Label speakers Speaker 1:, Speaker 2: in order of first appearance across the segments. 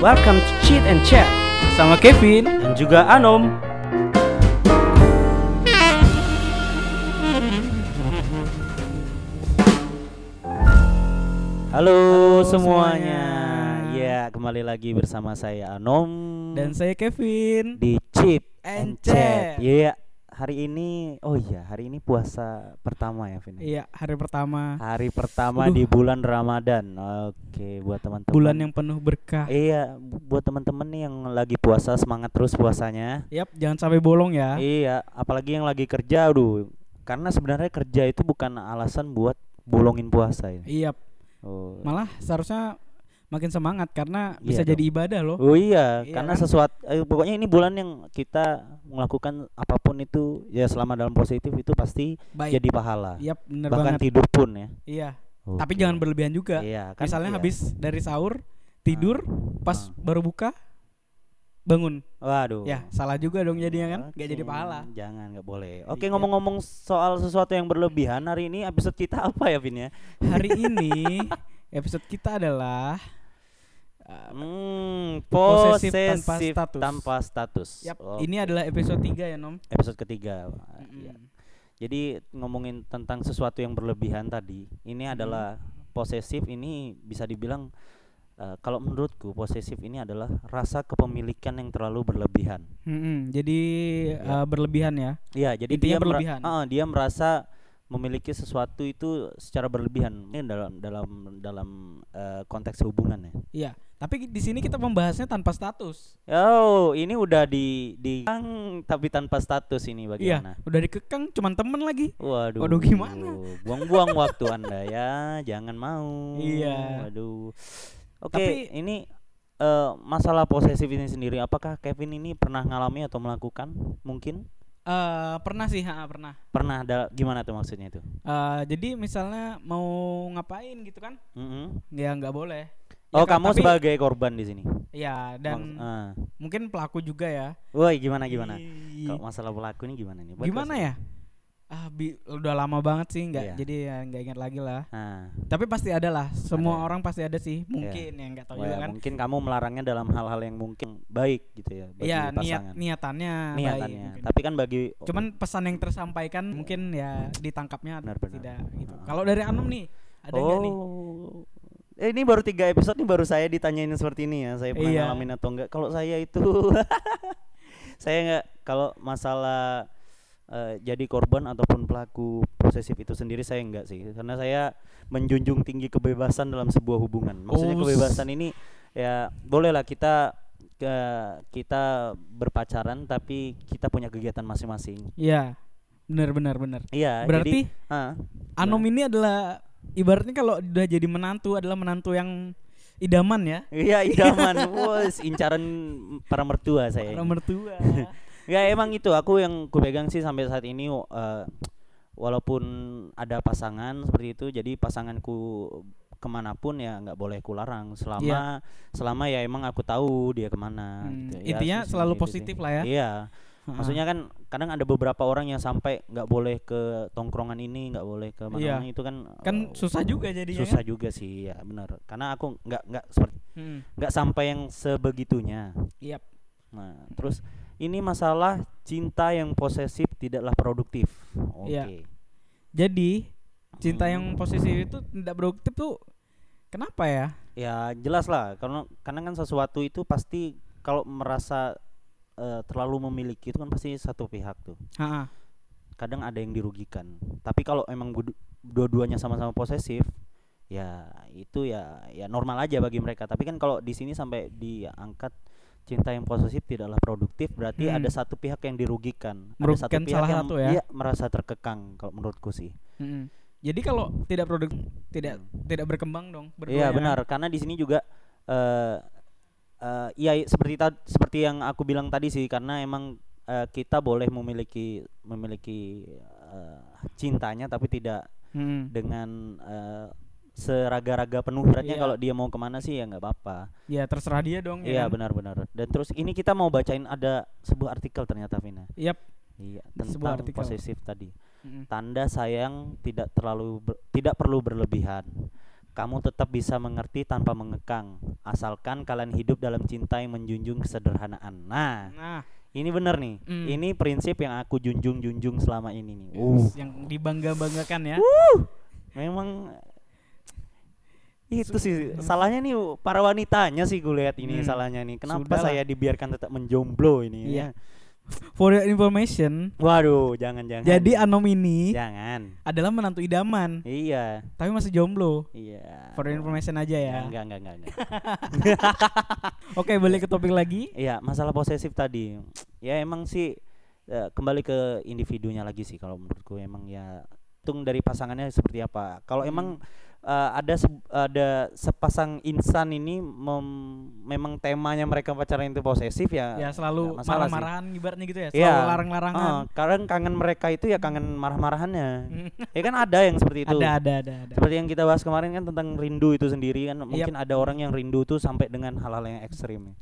Speaker 1: Welcome to Cheat and Chat bersama Kevin dan juga Anom. Halo, semuanya.
Speaker 2: semuanya.
Speaker 1: Ya, kembali lagi bersama saya Anom
Speaker 2: Dan saya Kevin.
Speaker 1: di Cheat
Speaker 2: and Chat.
Speaker 1: Iya, hari ini oh iya, hari ini puasa pertama ya, Vin.
Speaker 2: Iya, hari pertama
Speaker 1: Hari pertama
Speaker 2: Aduh.
Speaker 1: di bulan Ramadan. Oke, buat teman-teman.
Speaker 2: bulan yang penuh berkah.
Speaker 1: Iya, bu- buat teman-teman nih yang lagi puasa semangat terus puasanya.
Speaker 2: Yap, jangan sampai bolong ya.
Speaker 1: Iya, apalagi yang lagi kerja, aduh. Karena sebenarnya kerja itu bukan alasan buat bolongin puasa ya.
Speaker 2: Iya,
Speaker 1: Oh.
Speaker 2: malah seharusnya makin semangat karena
Speaker 1: Iya
Speaker 2: bisa
Speaker 1: dong.
Speaker 2: jadi ibadah loh.
Speaker 1: Oh iya,
Speaker 2: Iya
Speaker 1: karena
Speaker 2: kan?
Speaker 1: sesuatu eh, pokoknya ini bulan yang kita melakukan apapun itu ya selama dalam positif itu pasti
Speaker 2: Baik.
Speaker 1: jadi pahala.
Speaker 2: Yap, bener
Speaker 1: Bahkan
Speaker 2: banget.
Speaker 1: tidur pun ya.
Speaker 2: Iya,
Speaker 1: Oke.
Speaker 2: tapi jangan berlebihan juga.
Speaker 1: Iya, kan
Speaker 2: Misalnya
Speaker 1: iya.
Speaker 2: habis dari sahur, tidur, pas
Speaker 1: Ah.
Speaker 2: baru buka bangun.
Speaker 1: Waduh.
Speaker 2: Ya, salah juga dong jadinya kan. Gak
Speaker 1: Oke,
Speaker 2: jadi pahala.
Speaker 1: Jangan nggak boleh.
Speaker 2: Iya.
Speaker 1: Oke, ngomong-ngomong soal sesuatu yang berlebihan hari ini episode kita apa ya, Vin ya?
Speaker 2: Hari ini episode kita adalah uh,
Speaker 1: Hmm,
Speaker 2: Posesif
Speaker 1: posesif
Speaker 2: tanpa
Speaker 1: tanpa
Speaker 2: status.
Speaker 1: status.
Speaker 2: Yap,
Speaker 1: Oh,
Speaker 2: ini adalah episode 3 ya, Nom.
Speaker 1: episode ketiga. Wah, iya.
Speaker 2: Mm-mm.
Speaker 1: Jadi ngomongin tentang sesuatu yang berlebihan tadi, ini
Speaker 2: Hmm.
Speaker 1: adalah posesif ini bisa dibilang eh, kalau menurutku posesif ini adalah rasa kepemilikan yang terlalu berlebihan.
Speaker 2: Mm-mm, jadi
Speaker 1: Ya.
Speaker 2: uh, berlebihan ya.
Speaker 1: Iya, jadi
Speaker 2: Intinya
Speaker 1: dia mera-
Speaker 2: berlebihan.
Speaker 1: Ah, dia merasa memiliki sesuatu itu secara berlebihan ini dalam dalam dalam eh, konteks hubungan ya.
Speaker 2: Iya. Tapi di sini kita membahasnya tanpa status.
Speaker 1: Oh, ini udah di di tapi tanpa status ini bagaimana?
Speaker 2: Iya. Udah dikekang, cuman temen lagi.
Speaker 1: Waduh.
Speaker 2: Waduh, gimana?
Speaker 1: Buang-buang waktu Anda ya, jangan mau.
Speaker 2: Iya.
Speaker 1: Waduh. Oke,
Speaker 2: Tapi-
Speaker 1: ini eh, masalah posesif ini sendiri apakah Kevin ini pernah ngalami atau melakukan? Mungkin
Speaker 2: Eh pernah sih, ha, pernah.
Speaker 1: pernah ada gimana tuh maksudnya itu?
Speaker 2: Eh jadi misalnya mau ngapain gitu kan?
Speaker 1: Mm-mm.
Speaker 2: Ya nggak boleh. Ya
Speaker 1: Oh,
Speaker 2: kan,
Speaker 1: kamu
Speaker 2: tapi-
Speaker 1: sebagai korban di sini.
Speaker 2: Ya dan
Speaker 1: Maks- ah.
Speaker 2: mungkin pelaku juga ya.
Speaker 1: Woi, gimana gimana?
Speaker 2: Ih,
Speaker 1: Kalau masalah pelaku ini gimana nih? Buat
Speaker 2: Gimana
Speaker 1: kasus-
Speaker 2: ya? Ah, bi- udah lama banget sih nggak.
Speaker 1: Iya.
Speaker 2: Jadi ya nggak ingat lagi lah.
Speaker 1: Ah,
Speaker 2: Tapi pasti ada lah. Semua
Speaker 1: Ada ya? Iya.
Speaker 2: orang pasti ada sih. Mungkin yang nggak tahu
Speaker 1: wah, ya,
Speaker 2: juga kan.
Speaker 1: mungkin kamu melarangnya dalam hal-hal yang mungkin baik gitu ya bagi
Speaker 2: Iya niat
Speaker 1: pasangan.
Speaker 2: niatannya. baik
Speaker 1: Niatannya.
Speaker 2: mungkin.
Speaker 1: Tapi kan bagi
Speaker 2: Cuman pesan yang tersampaikan mungkin ya ditangkapnya
Speaker 1: Benar, benar.
Speaker 2: tidak gitu.
Speaker 1: Ah.
Speaker 2: Kalau dari Anum nih, ada
Speaker 1: oh.
Speaker 2: nggak nih?
Speaker 1: Eh, ini baru tiga episode nih baru saya ditanyain seperti ini ya. Saya pernah
Speaker 2: Iya.
Speaker 1: ngalamin atau enggak? Kalau saya itu saya enggak kalau masalah eh, jadi korban ataupun pelaku posesif itu sendiri saya enggak sih. Karena saya menjunjung tinggi kebebasan dalam sebuah hubungan. Maksudnya
Speaker 2: Us.
Speaker 1: kebebasan ini ya bolehlah kita ke- kita berpacaran tapi kita punya kegiatan masing-masing.
Speaker 2: Iya. Benar benar benar.
Speaker 1: Iya,
Speaker 2: Berarti
Speaker 1: jadi ah,
Speaker 2: Anum ini adalah ibaratnya kalau udah jadi menantu adalah menantu yang idaman ya.
Speaker 1: Iya idaman, wos incaran para mertua saya.
Speaker 2: Orang mertua.
Speaker 1: Ya emang itu aku yang kupegang sih sampai saat ini w- eh, walaupun ada pasangan seperti itu, jadi pasanganku kemanapun ya nggak boleh kularang selama selama ya emang aku tahu dia
Speaker 2: Iya.
Speaker 1: kemana.
Speaker 2: Hmm,
Speaker 1: gitu. Ya,
Speaker 2: intinya
Speaker 1: sesimpel
Speaker 2: selalu
Speaker 1: itu sih.
Speaker 2: positif lah ya.
Speaker 1: Iya,
Speaker 2: Ah.
Speaker 1: maksudnya kan kadang ada beberapa orang yang sampai nggak boleh ke tongkrongan ini, nggak boleh ke
Speaker 2: Iya.
Speaker 1: mana-mana itu kan
Speaker 2: kan
Speaker 1: eh,
Speaker 2: susah juga jadinya.
Speaker 1: susah
Speaker 2: Kan?
Speaker 1: juga sih ya benar. Karena aku nggak nggak seperti
Speaker 2: Hmm.
Speaker 1: nggak sampai yang sebegitunya.
Speaker 2: Yap.
Speaker 1: Nah, terus ini masalah cinta yang posesif tidaklah produktif. Oke.
Speaker 2: Iya. Jadi cinta
Speaker 1: Hmm.
Speaker 2: yang posesif itu tidak produktif tuh kenapa ya?
Speaker 1: Ya jelas lah, karena karena kan sesuatu itu pasti kalau merasa eh, terlalu memiliki itu kan pasti satu pihak tuh.
Speaker 2: Ha-ha.
Speaker 1: Kadang ada yang dirugikan. Tapi kalau emang budu- dua-duanya sama-sama posesif, ya itu ya ya normal aja bagi mereka. Tapi kan kalau di sini sampai diangkat cinta yang posesif tidaklah produktif, berarti
Speaker 2: Hmm.
Speaker 1: ada satu pihak yang dirugikan, ada satu
Speaker 2: Merugikan
Speaker 1: pihak
Speaker 2: salah
Speaker 1: yang
Speaker 2: satu ya.
Speaker 1: iya, merasa terkekang kalau menurutku sih.
Speaker 2: Mm-mm. Hmm. Jadi kalau tidak produktif tidak tidak berkembang dong berdua ya
Speaker 1: Hmm. Iya
Speaker 2: kan?
Speaker 1: benar karena di sini juga eh eh, iya i- seperti ta- seperti yang aku bilang tadi sih karena emang eh, kita boleh memiliki memiliki eh, cintanya tapi tidak
Speaker 2: Mm.
Speaker 1: dengan eh, seraga-raga penuh beratnya
Speaker 2: Iya.
Speaker 1: kalau dia mau kemana sih ya nggak apa-apa.
Speaker 2: Ya terserah dia dong. ya
Speaker 1: Iya
Speaker 2: kan?
Speaker 1: benar-benar. Dan terus ini kita mau bacain ada sebuah artikel ternyata Vina.
Speaker 2: Yap.
Speaker 1: Iya
Speaker 2: Sebuah
Speaker 1: tentang
Speaker 2: artikel.
Speaker 1: posesif tadi.
Speaker 2: Mm-mm.
Speaker 1: Tanda sayang tidak terlalu ber- tidak perlu berlebihan. Kamu tetap bisa mengerti tanpa mengekang, asalkan kalian hidup dalam cinta yang menjunjung kesederhanaan. Nah,
Speaker 2: Nah,
Speaker 1: ini bener nih.
Speaker 2: Mm.
Speaker 1: Ini prinsip yang aku junjung-junjung selama ini nih. Uh,
Speaker 2: yang dibangga-banggakan ya.
Speaker 1: memang itu sih salahnya nih para wanitanya sih gue lihat ini
Speaker 2: Hmm.
Speaker 1: salahnya nih. Kenapa
Speaker 2: Sudahlah.
Speaker 1: saya dibiarkan tetap menjomblo ini?
Speaker 2: Iya.
Speaker 1: ya?
Speaker 2: For your information,
Speaker 1: Waduh, jangan-jangan.
Speaker 2: jadi Anom ini
Speaker 1: jangan.
Speaker 2: adalah menantu idaman,
Speaker 1: Ya. Iya,
Speaker 2: tapi masih jomblo.
Speaker 1: iya.
Speaker 2: For your information aja ya.
Speaker 1: Enggak, enggak, enggak, enggak.
Speaker 2: Oke, balik ke topik lagi.
Speaker 1: Iya, masalah posesif tadi. Ya emang sih eh, kembali ke individunya lagi sih kalau menurutku emang ya tung dari pasangannya seperti apa. Kalau
Speaker 2: Hmm.
Speaker 1: emang eh, ada se- ada sepasang insan ini mem- memang temanya mereka pacaran itu posesif ya.
Speaker 2: Ya selalu
Speaker 1: nggak masalah sih.
Speaker 2: marah-marahan ibaratnya gitu ya,
Speaker 1: Iya.
Speaker 2: selalu larang-larangan.
Speaker 1: Eh, kadang kangen mereka itu ya kangen marah-marahannya. ya kan ada yang seperti itu.
Speaker 2: Hmm. ada ada ada ada.
Speaker 1: Seperti yang kita bahas kemarin kan tentang rindu itu sendiri kan mungkin ada orang yang rindu tuh sampai dengan hal-hal yang ekstrim. ya.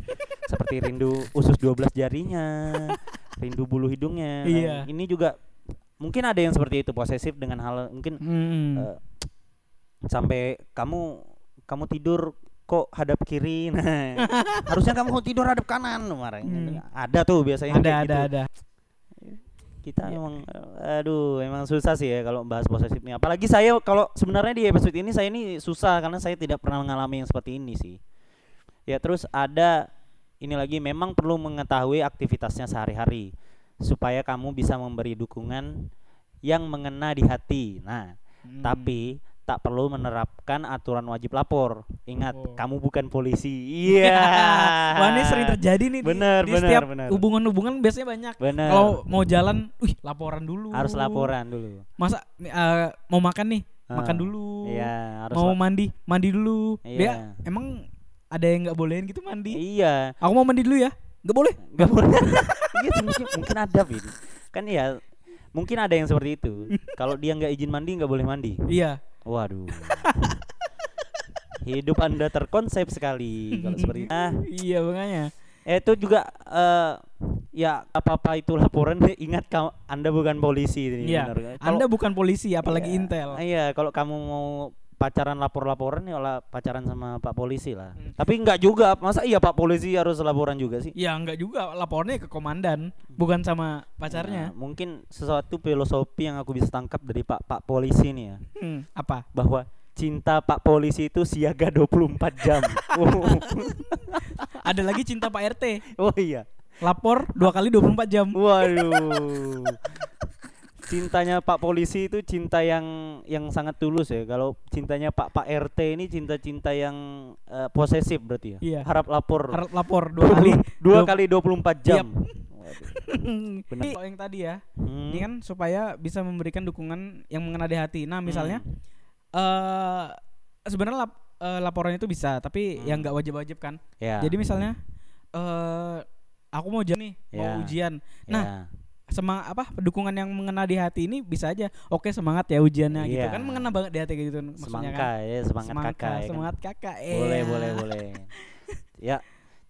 Speaker 1: Seperti rindu usus 12 jarinya, rindu bulu hidungnya. Nah,
Speaker 2: Iya.
Speaker 1: Ini juga mungkin ada yang seperti itu posesif dengan hal mungkin
Speaker 2: Hmm.
Speaker 1: eh, sampai kamu kamu tidur kok hadap kiri. Nah, harusnya kamu tidur hadap kanan kemarin.
Speaker 2: Hmm.
Speaker 1: Ada tuh biasanya
Speaker 2: ada ada
Speaker 1: kayak gitu
Speaker 2: ada.
Speaker 1: kita
Speaker 2: Iya.
Speaker 1: emang aduh emang susah sih ya kalau bahas posesif nih apalagi saya kalau sebenarnya di episode ini saya ini susah karena saya tidak pernah mengalami yang seperti ini sih ya terus ada ini lagi memang perlu mengetahui aktivitasnya sehari-hari supaya kamu bisa memberi dukungan yang mengena di hati nah
Speaker 2: Hmm.
Speaker 1: tapi tak perlu menerapkan aturan wajib lapor ingat
Speaker 2: Oh.
Speaker 1: kamu bukan polisi iya
Speaker 2: Hmm. Wah, ini sering terjadi nih di-
Speaker 1: Bener,
Speaker 2: di,
Speaker 1: bener,
Speaker 2: setiap
Speaker 1: bener.
Speaker 2: hubungan-hubungan biasanya banyak.
Speaker 1: benar
Speaker 2: Kalau mau jalan, wih laporan dulu.
Speaker 1: harus laporan dulu
Speaker 2: Masa eh, mau makan nih, makan
Speaker 1: Ah,
Speaker 2: dulu.
Speaker 1: iya harus
Speaker 2: Mau mandi, mandi dulu. Dia
Speaker 1: Iya.
Speaker 2: emang ada yang nggak bolehin gitu mandi.
Speaker 1: Iya,
Speaker 2: Aku mau mandi dulu ya. Nggak boleh.
Speaker 1: nggak boleh. Iya, sih, mungkin, mungkin ada Vin. Kan ya, mungkin ada yang seperti itu. Kalau dia nggak izin mandi nggak boleh mandi.
Speaker 2: Iya.
Speaker 1: Waduh. Hidup anda terkonsep sekali kalau seperti itu. Nah,
Speaker 2: Iya makanya.
Speaker 1: itu juga eh, ya apa apa itu laporan ingat kamu anda bukan polisi ini.
Speaker 2: Iya.
Speaker 1: benar. Kalau-
Speaker 2: Anda bukan polisi apalagi
Speaker 1: Iya.
Speaker 2: Intel.
Speaker 1: Iya, kalau kamu mau pacaran lapor-laporan ya lah pacaran sama Pak Polisi lah.
Speaker 2: Hmm.
Speaker 1: Tapi nggak juga, masa iya Pak Polisi harus laporan juga sih?
Speaker 2: Ya nggak juga lapornya ke komandan, bukan sama
Speaker 1: Nah,
Speaker 2: pacarnya.
Speaker 1: mungkin sesuatu filosofi yang aku bisa tangkap dari Pak Pak Polisi nih ya,
Speaker 2: Hmm, apa?
Speaker 1: bahwa cinta Pak Polisi itu siaga 24 jam. oh,
Speaker 2: Ada lagi cinta Pak RT.
Speaker 1: oh iya.
Speaker 2: Lapor dua kali 24 jam.
Speaker 1: Waduh. Cintanya Pak Polisi itu cinta yang yang sangat tulus ya. Kalau cintanya Pak Pak RT ini cinta-cinta yang eh, posesif berarti ya.
Speaker 2: Iya.
Speaker 1: Harap lapor.
Speaker 2: Harap lapor dua kali.
Speaker 1: dua
Speaker 2: Dua-
Speaker 1: kali 24
Speaker 2: Yap.
Speaker 1: jam. Waduh. Benar.
Speaker 2: Benar. yang tadi ya.
Speaker 1: Hmm.
Speaker 2: Ini kan supaya bisa memberikan dukungan yang mengena di hati. Nah, misalnya
Speaker 1: Hmm.
Speaker 2: eh sebenarnya lap- eh, laporan itu bisa, tapi yang nggak wajib-wajib kan.
Speaker 1: Hmm. Ya.
Speaker 2: Jadi misalnya eh aku mau jalan nih,
Speaker 1: Ya.
Speaker 2: mau ujian. Nah,
Speaker 1: Ya.
Speaker 2: semangat apa dukungan yang mengena di hati ini bisa aja oke semangat ya ujiannya gitu
Speaker 1: Iya.
Speaker 2: kan mengena banget di hati kayak gitu kan, maksudnya
Speaker 1: semangka
Speaker 2: kan
Speaker 1: ya, semangat
Speaker 2: Semangka,
Speaker 1: kakak ya kan.
Speaker 2: semangat kakak eh.
Speaker 1: Boleh, boleh, boleh. ya.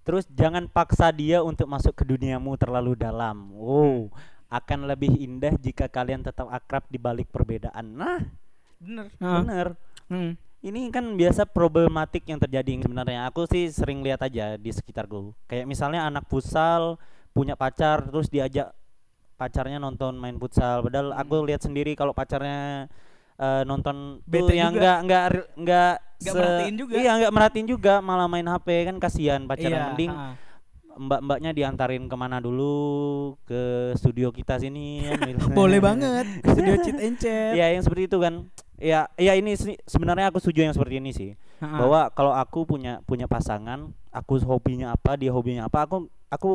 Speaker 1: Terus jangan paksa dia untuk masuk ke duniamu terlalu dalam. Wow, akan lebih indah jika kalian tetap akrab di balik perbedaan. Nah,
Speaker 2: bener
Speaker 1: bener.
Speaker 2: Hmm.
Speaker 1: Ini kan biasa problematik yang terjadi sebenarnya. Aku sih sering lihat aja di sekitarku. Kayak misalnya anak futsal punya pacar terus diajak pacarnya nonton main futsal. Padahal
Speaker 2: Hmm.
Speaker 1: aku lihat sendiri kalau pacarnya eh, nonton tuh
Speaker 2: Bete
Speaker 1: yang
Speaker 2: juga.
Speaker 1: enggak enggak enggak
Speaker 2: Nggak merhatiin juga.
Speaker 1: Iya, enggak merhatiin juga, malah main HP kan kasihan pacaran
Speaker 2: Iya,
Speaker 1: mending
Speaker 2: ha.
Speaker 1: mbak-mbaknya diantarin kemana dulu ke studio kita sini ya, misalnya.
Speaker 2: boleh banget studio cheat and chat
Speaker 1: Ya yang seperti itu kan. Ya, ya ini se- sebenarnya aku setuju yang seperti ini sih
Speaker 2: Ha, ha.
Speaker 1: bahwa kalau aku punya punya pasangan aku hobinya apa dia hobinya apa aku aku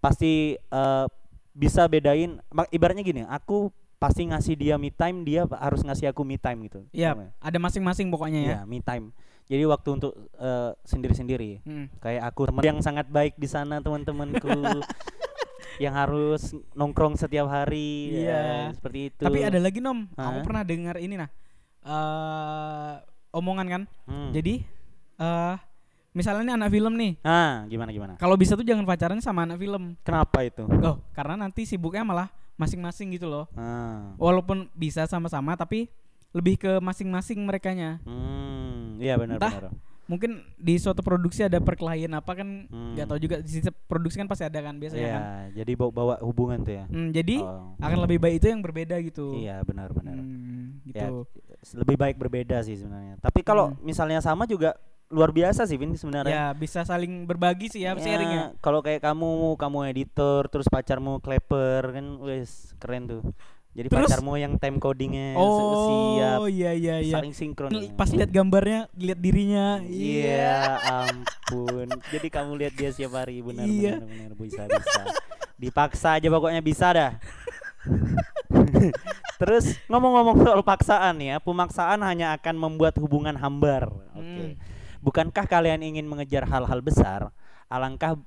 Speaker 1: pasti eh, bisa bedain Ma- ibaratnya gini aku pasti ngasih dia me time dia harus ngasih aku me time gitu
Speaker 2: Yap,
Speaker 1: Paham
Speaker 2: ada masing-masing pokoknya
Speaker 1: ya
Speaker 2: ya.
Speaker 1: Ya, me time jadi waktu untuk eh, sendiri-sendiri
Speaker 2: Hmm.
Speaker 1: kayak aku teman yang sangat baik di sana teman-temanku yang harus nongkrong setiap
Speaker 2: Iya.
Speaker 1: hari ya, seperti itu
Speaker 2: Tapi ada lagi nom, aku
Speaker 1: Hah?
Speaker 2: pernah dengar ini nah. eh omongan kan.
Speaker 1: Hmm.
Speaker 2: Jadi eh misalnya nih anak film nih,
Speaker 1: ah gimana gimana
Speaker 2: kalau bisa tuh jangan pacaran sama anak film.
Speaker 1: kenapa itu
Speaker 2: Oh, karena nanti sibuknya malah masing-masing gitu loh.
Speaker 1: ah.
Speaker 2: Walaupun bisa sama-sama tapi lebih ke masing-masing merekanya.
Speaker 1: Hmm, Iya
Speaker 2: Entah.
Speaker 1: benar-benar.
Speaker 2: mungkin di suatu produksi ada perkelahian apa kan
Speaker 1: Hmm.
Speaker 2: nggak tahu juga di setiap produksi kan pasti ada kan biasanya
Speaker 1: Iya,
Speaker 2: kan
Speaker 1: jadi bawa, bawa hubungan tuh ya.
Speaker 2: Hmm, jadi
Speaker 1: Oh.
Speaker 2: akan lebih baik itu yang berbeda gitu
Speaker 1: Iya benar-benar.
Speaker 2: Hmm,
Speaker 1: Ya,
Speaker 2: gitu
Speaker 1: s- lebih baik berbeda sih sebenarnya. Tapi kalau
Speaker 2: Hmm.
Speaker 1: misalnya sama juga luar biasa sih Vin sebenarnya.
Speaker 2: ya bisa saling berbagi sih ya, sharing ya
Speaker 1: Ya, Kalau kayak kamu, kamu editor, terus pacarmu clapper kan, wes keren tuh. Jadi
Speaker 2: Terus-
Speaker 1: pacarmu yang time codingnya Iya, ya, siap,
Speaker 2: oh iya iya iya
Speaker 1: saling sinkron. ya.
Speaker 2: pas lihat gambarnya lihat dirinya
Speaker 1: Iya, ampun. Jadi kamu lihat dia siap hari benar
Speaker 2: Iya.
Speaker 1: benar benar bisa bisa. Dipaksa aja pokoknya bisa dah. Terus ngomong-ngomong soal paksaan ya, pemaksaan hanya akan membuat hubungan hambar. Oke.
Speaker 2: Hmm.
Speaker 1: Bukankah kalian ingin mengejar hal-hal besar? Alangkah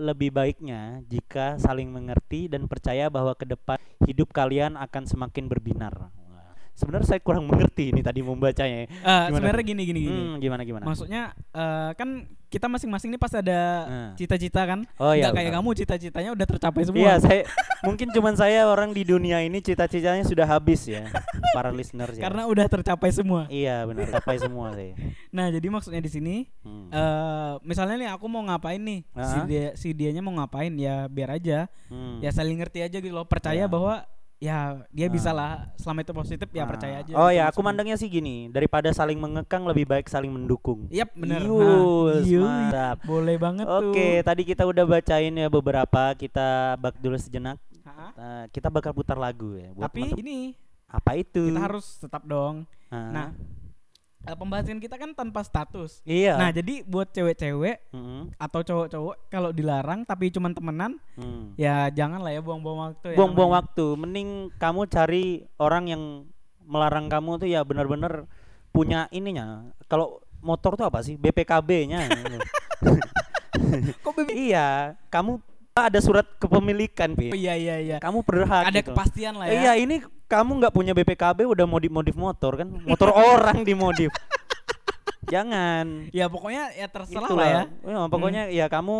Speaker 1: lebih baiknya jika saling mengerti dan percaya bahwa ke depan hidup kalian akan semakin berbinar. Wah. Sebenarnya saya kurang mengerti ini tadi membacanya. ya.
Speaker 2: Eh,
Speaker 1: Gimana?
Speaker 2: sebenarnya gini gini gini
Speaker 1: Hmm, gimana gimana?
Speaker 2: maksudnya eh, kan kita masing-masing ini pasti ada
Speaker 1: Nah.
Speaker 2: cita-cita kan
Speaker 1: Oh iya,
Speaker 2: Nggak kayak
Speaker 1: benar.
Speaker 2: kamu cita-citanya udah tercapai semua
Speaker 1: Iya, saya mungkin cuman saya orang di dunia ini cita-citanya sudah habis ya para listeners ya.
Speaker 2: karena udah tercapai semua
Speaker 1: iya benar, capai semua sih.
Speaker 2: nah jadi maksudnya di sini
Speaker 1: Hmm.
Speaker 2: eh misalnya nih aku mau ngapain nih si
Speaker 1: Ah.
Speaker 2: dia si dianya mau ngapain ya biar aja
Speaker 1: Hmm.
Speaker 2: ya saling ngerti aja gitu loh percaya
Speaker 1: Iya.
Speaker 2: bahwa ya dia
Speaker 1: Ah.
Speaker 2: bisa lah selama itu positif ya
Speaker 1: Ah.
Speaker 2: percaya aja
Speaker 1: Oh
Speaker 2: gitu
Speaker 1: ya, aku
Speaker 2: maksudnya.
Speaker 1: mandangnya sih gini, daripada saling mengekang lebih baik saling mendukung.
Speaker 2: Yap bener Nah,
Speaker 1: Yus,
Speaker 2: yus.
Speaker 1: mantap.
Speaker 2: Boleh banget tuh
Speaker 1: Oke, tadi kita udah bacain ya beberapa, kita bak dulu sejenak.
Speaker 2: Ha-ha.
Speaker 1: Eh, kita bakal putar lagu ya. buat Hmm.
Speaker 2: Tapi
Speaker 1: teman-teman.
Speaker 2: ini
Speaker 1: apa itu?
Speaker 2: kita harus tetap dong
Speaker 1: Ah.
Speaker 2: Nah eh, pembahasan kita kan tanpa status
Speaker 1: iya.
Speaker 2: Nah
Speaker 1: Hmm,
Speaker 2: jadi buat cewek-cewek
Speaker 1: Mm-mm.
Speaker 2: atau cowok-cowok kalau dilarang tapi cuman temenan
Speaker 1: Mm.
Speaker 2: ya jangan lah ya buang-buang waktu ya
Speaker 1: buang-buang
Speaker 2: namanya.
Speaker 1: waktu mending kamu cari orang yang melarang kamu tuh ya benar-benar punya ininya kalau motor tuh apa sih BPKB-nya
Speaker 2: Kok bebe-
Speaker 1: Gitu. iya kamu ada surat kepemilikan
Speaker 2: Oh,
Speaker 1: Pi.
Speaker 2: iya iya iya.
Speaker 1: kamu berhak
Speaker 2: Ada
Speaker 1: gitu.
Speaker 2: kepastian lah ya.
Speaker 1: iya ini kamu nggak punya BPKB udah modif-modif motor kan motor orang dimodif jangan
Speaker 2: Ya pokoknya ya terserah
Speaker 1: Itulah.
Speaker 2: lah ya.
Speaker 1: Iya, pokoknya ya kamu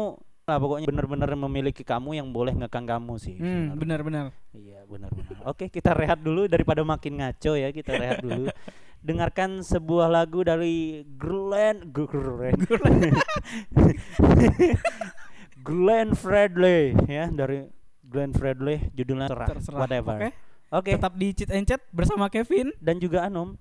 Speaker 1: lah pokoknya benar-benar memiliki kamu yang boleh ngekang kamu sih
Speaker 2: Hmm,
Speaker 1: sebenarnya.
Speaker 2: benar-benar.
Speaker 1: Iya benar-benar. Oke kita rehat dulu daripada makin ngaco ya kita rehat dulu. Dengarkan sebuah lagu dari Glenn Gu- Glenn Glenn Fredly ya dari Glenn Fredly judulnya terserah,
Speaker 2: Terserah.
Speaker 1: whatever.
Speaker 2: Oke.
Speaker 1: Oke.
Speaker 2: Tetap di Cheat and Chat bersama Kevin.
Speaker 1: Dan juga Anom.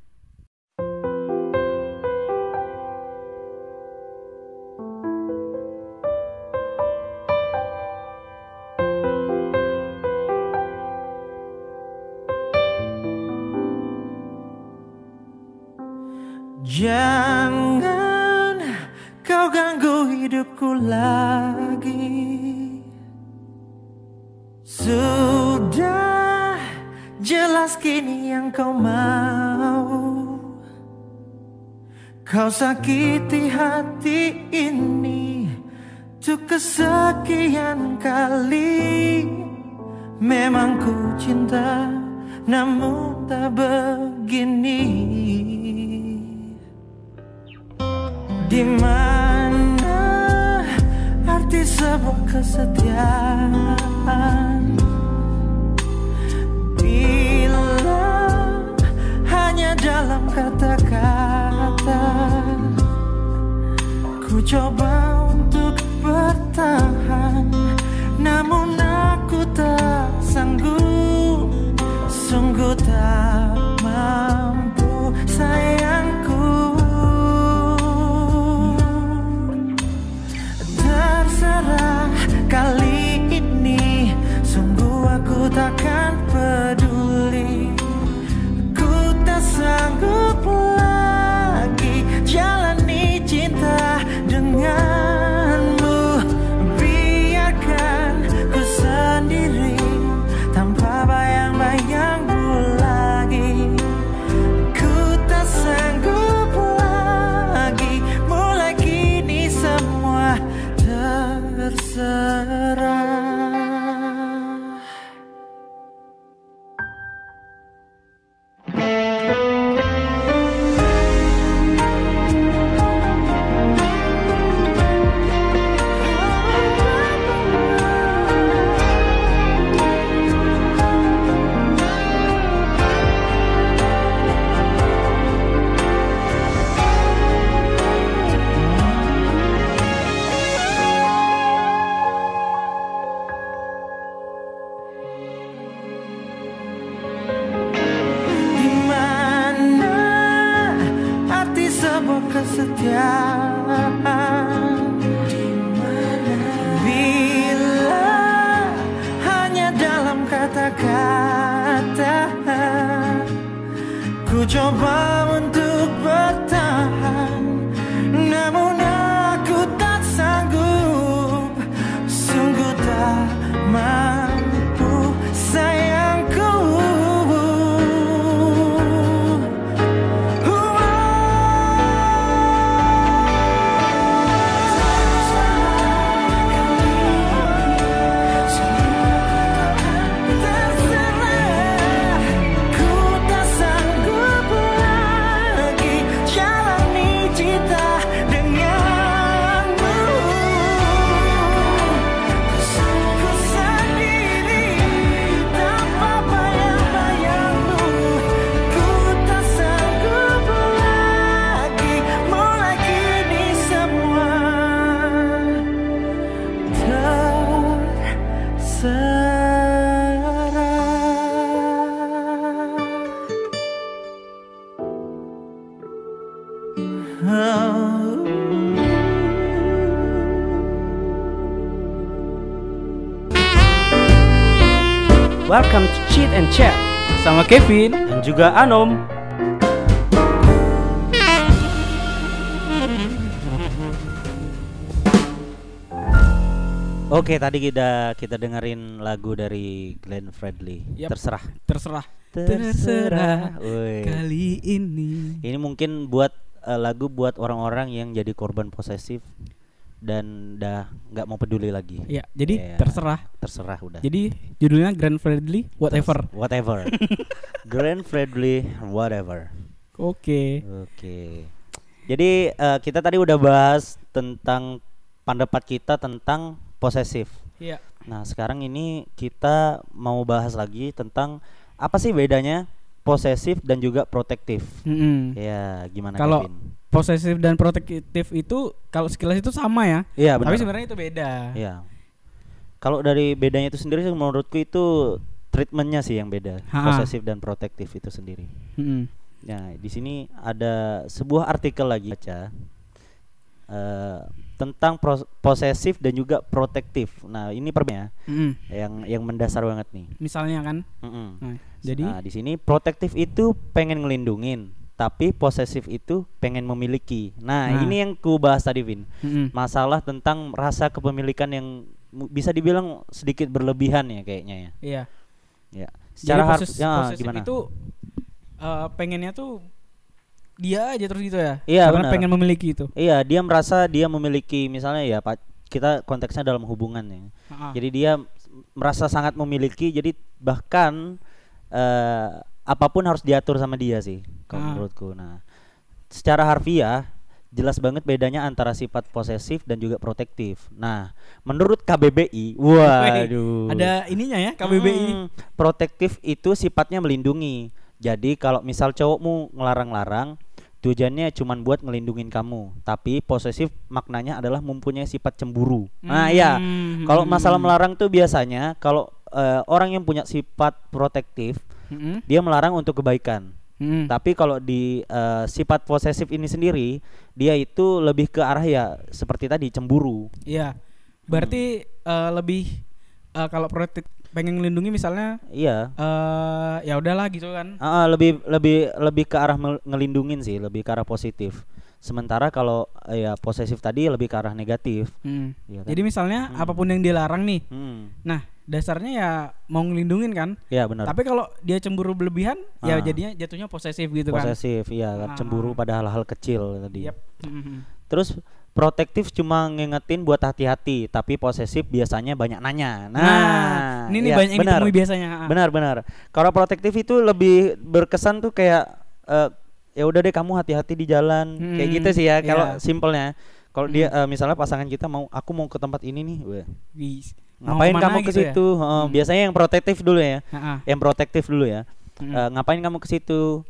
Speaker 3: Jangan kau ganggu hidupku lagi. Sudah jelas kini yang kau mau. Kau sakiti hati ini untuk kesekian kali. Memang ku cinta, namun tak begini. Di mana arti sebuah kesetiaan Bila hanya dalam kata-kata Ku coba untuk bertahan Namun aku tak sanggup Sungguh tak mampu sayangku Terserah kali ini Sungguh aku takkan peduli Ku tak sanggup lagi Jalani cinta denganmu Biarkan ku
Speaker 1: Welcome to Cheat and Chat
Speaker 2: Sama Kevin
Speaker 1: dan juga Anom. Oke, tadi kita kita dengerin lagu dari Glenn Fredly.
Speaker 2: Yap.
Speaker 1: Terserah.
Speaker 2: Terserah
Speaker 1: Terserah. Woi.
Speaker 2: Kali ini
Speaker 1: Ini mungkin buat eh, lagu buat orang-orang yang jadi korban posesif dan dah nggak mau peduli lagi.
Speaker 2: Ya jadi
Speaker 1: Ya.
Speaker 2: terserah
Speaker 1: Terserah udah.
Speaker 2: Jadi judulnya Grand Friendly Whatever
Speaker 1: Terus- Whatever. Grand Fredly whatever.
Speaker 2: Oke
Speaker 1: Oke. Jadi eh, kita tadi udah bahas tentang pendapat kita tentang posesif.
Speaker 2: Iya
Speaker 1: Nah, sekarang ini kita mau bahas lagi tentang apa sih bedanya posesif dan juga protektif.
Speaker 2: Mm-mm.
Speaker 1: Ya, gimana
Speaker 2: Hmm. Kalau
Speaker 1: Kevin?
Speaker 2: posesif dan protektif itu Kalau sekilas itu sama ya
Speaker 1: Iya, benar.
Speaker 2: Tapi sebenarnya itu beda
Speaker 1: Iya. Kalau dari bedanya itu sendiri sih menurutku itu treatmentnya sih yang beda,
Speaker 2: Ha.
Speaker 1: posesif dan protektif itu sendiri.
Speaker 2: Mm-mm.
Speaker 1: Nah, di sini ada sebuah artikel lagi baca eh, tentang pros- posesif dan juga protektif. Nah, ini perbedaannya
Speaker 2: Mm-mm.
Speaker 1: yang yang mendasar banget nih.
Speaker 2: Misalnya kan
Speaker 1: Mm-mm.
Speaker 2: Nah, Jadi
Speaker 1: Nah, di sini protektif itu pengen ngelindungin, tapi posesif itu pengen memiliki. Nah,
Speaker 2: Nah.
Speaker 1: ini yang ku bahas tadi, Vin.
Speaker 2: Mm-mm.
Speaker 1: Masalah tentang rasa kepemilikan yang mu- bisa dibilang sedikit berlebihan ya kayaknya ya.
Speaker 2: Iya
Speaker 1: Ya. Secara harus
Speaker 2: poses- posesif itu eh, Pengennya tuh Dia aja terus gitu ya
Speaker 1: Iya,
Speaker 2: Karena
Speaker 1: benar.
Speaker 2: pengen memiliki itu
Speaker 1: Iya, dia merasa dia memiliki misalnya ya Pak, kita konteksnya dalam hubungan ya.
Speaker 2: Ha-ha.
Speaker 1: Jadi dia merasa sangat memiliki jadi bahkan eh, apapun harus diatur sama dia sih kalau
Speaker 2: Ah.
Speaker 1: menurutku. Nah, secara harfiah jelas banget bedanya antara sifat posesif dan juga protektif. Nah, menurut KBBI, waduh.
Speaker 2: Ada ininya ya KBBI
Speaker 1: Hmm, protektif itu sifatnya melindungi. Jadi kalau misal cowokmu ngelarang-larang, tujuannya cuman buat ngelindungin kamu. Tapi posesif maknanya adalah mempunyai sifat cemburu. Nah, iya.
Speaker 2: Hmm.
Speaker 1: Kalau masalah melarang tuh biasanya kalau eh, orang yang punya sifat protektif,
Speaker 2: Mm-mm.
Speaker 1: dia melarang untuk kebaikan.
Speaker 2: Mm-mm.
Speaker 1: Tapi kalau di eh, sifat posesif ini sendiri, dia itu lebih ke arah ya seperti tadi cemburu.
Speaker 2: Iya. Berarti eh,
Speaker 1: Hmm.
Speaker 2: lebih eh, kalau protektif pengen melindungi misalnya
Speaker 1: Iya.
Speaker 2: eh ya udahlah gitu kan.
Speaker 1: Ah, ah, lebih lebih lebih ke arah mel- ngelindungin sih, lebih ke arah positif. Sementara kalau eh, ya posesif tadi lebih ke arah negatif.
Speaker 2: Mm.
Speaker 1: Iya kan?
Speaker 2: Jadi misalnya
Speaker 1: Hmm.
Speaker 2: apapun yang dilarang nih.
Speaker 1: Hmm.
Speaker 2: Nah, dasarnya ya mau ngelindungin kan.
Speaker 1: Ya benar.
Speaker 2: Tapi kalau dia cemburu berlebihan ya
Speaker 1: Ah.
Speaker 2: jadinya jatuhnya posesif gitu kan.
Speaker 1: posesif, iya kan,
Speaker 2: Ah.
Speaker 1: cemburu pada hal-hal kecil tadi.
Speaker 2: Yap. Mm-mm.
Speaker 1: Terus protektif cuma ngingetin buat hati-hati, tapi posesif biasanya banyak nanya. Nah,
Speaker 2: Nah, ini nih
Speaker 1: iya,
Speaker 2: banyak yang
Speaker 1: benar.
Speaker 2: ditemui biasanya. ah.
Speaker 1: Benar, benar. Kalau protektif itu lebih berkesan tuh kayak eh, ya udah deh kamu hati-hati di jalan kayak
Speaker 2: Hmm,
Speaker 1: gitu sih ya
Speaker 2: iya.
Speaker 1: kalau
Speaker 2: Hmm.
Speaker 1: simpelnya. Kalau dia eh, misalnya pasangan kita mau aku mau ke tempat ini nih, weh,
Speaker 2: Wih, mau
Speaker 1: ngapain
Speaker 2: kemana
Speaker 1: kamu ke
Speaker 2: gitu ya?
Speaker 1: situ? Heeh,
Speaker 2: Hmm.
Speaker 1: Biasanya yang protektif dulu ya,
Speaker 2: Ah, Hmm. ah.
Speaker 1: yang protektif dulu ya.
Speaker 2: Mm-mm.
Speaker 1: Eh, ngapain kamu ke situ?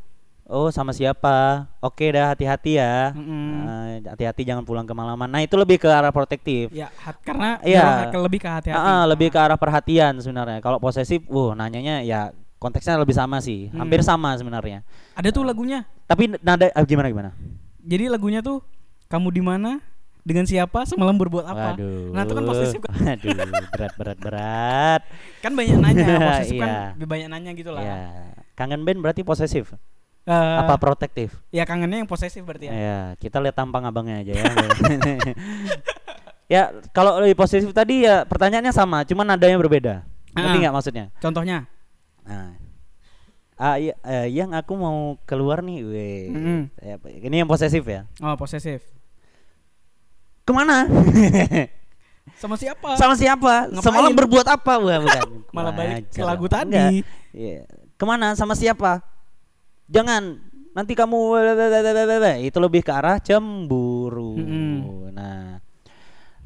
Speaker 1: Oh sama siapa? Oke dah hati-hati ya.
Speaker 2: Mm-mm.
Speaker 1: Eh, hati-hati jangan pulang kemalaman. Nah itu lebih ke arah protektif.
Speaker 2: Ya, hat, karena dorong
Speaker 1: Iya.
Speaker 2: ke- lebih ke hati-hati.
Speaker 1: Ah, lebih ke arah perhatian sebenarnya. Kalau posesif, wuh nanyanya ya konteksnya lebih sama sih,
Speaker 2: Hmm.
Speaker 1: hampir sama sebenarnya.
Speaker 2: Ada tuh lagunya.
Speaker 1: Tapi nada ah, gimana gimana?
Speaker 2: Jadi lagunya tuh kamu di mana dengan siapa semalam berbuat apa?
Speaker 1: Waduh.
Speaker 2: Nah, itu kan posesif kan.
Speaker 1: Waduh, berat berat berat.
Speaker 2: Kan banyak nanya, posesif kan
Speaker 1: Iya.
Speaker 2: lebih banyak nanya gitu lah.
Speaker 1: ya. Kangen band berarti posesif.
Speaker 2: Eh,
Speaker 1: Apa protektif?
Speaker 2: Ya kangennya yang posesif berarti
Speaker 1: Ya.
Speaker 2: ya.
Speaker 1: kita lihat tampang abangnya aja ya. ya, kalau lebih posesif tadi ya pertanyaannya sama, cuman nadanya berbeda. Ngerti
Speaker 2: Ah.
Speaker 1: nggak maksudnya?
Speaker 2: Contohnya.
Speaker 1: Nah. Ah, iya, eh, yang aku mau keluar nih, weh.
Speaker 2: Mm-mm.
Speaker 1: Ya, Ini yang posesif ya.
Speaker 2: Oh, posesif.
Speaker 1: Kemana?
Speaker 2: Sama siapa?
Speaker 1: Sama siapa?
Speaker 2: Ngapain?
Speaker 1: Semalam berbuat apa? Wah, bukan.
Speaker 2: Malah balik ke
Speaker 1: Wajar
Speaker 2: lagu
Speaker 1: lah. Enggak.
Speaker 2: tadi.
Speaker 1: Iya. Kemana? Sama siapa? Jangan. Nanti kamu itu lebih ke arah cemburu.
Speaker 2: Mm-mm.
Speaker 1: Nah,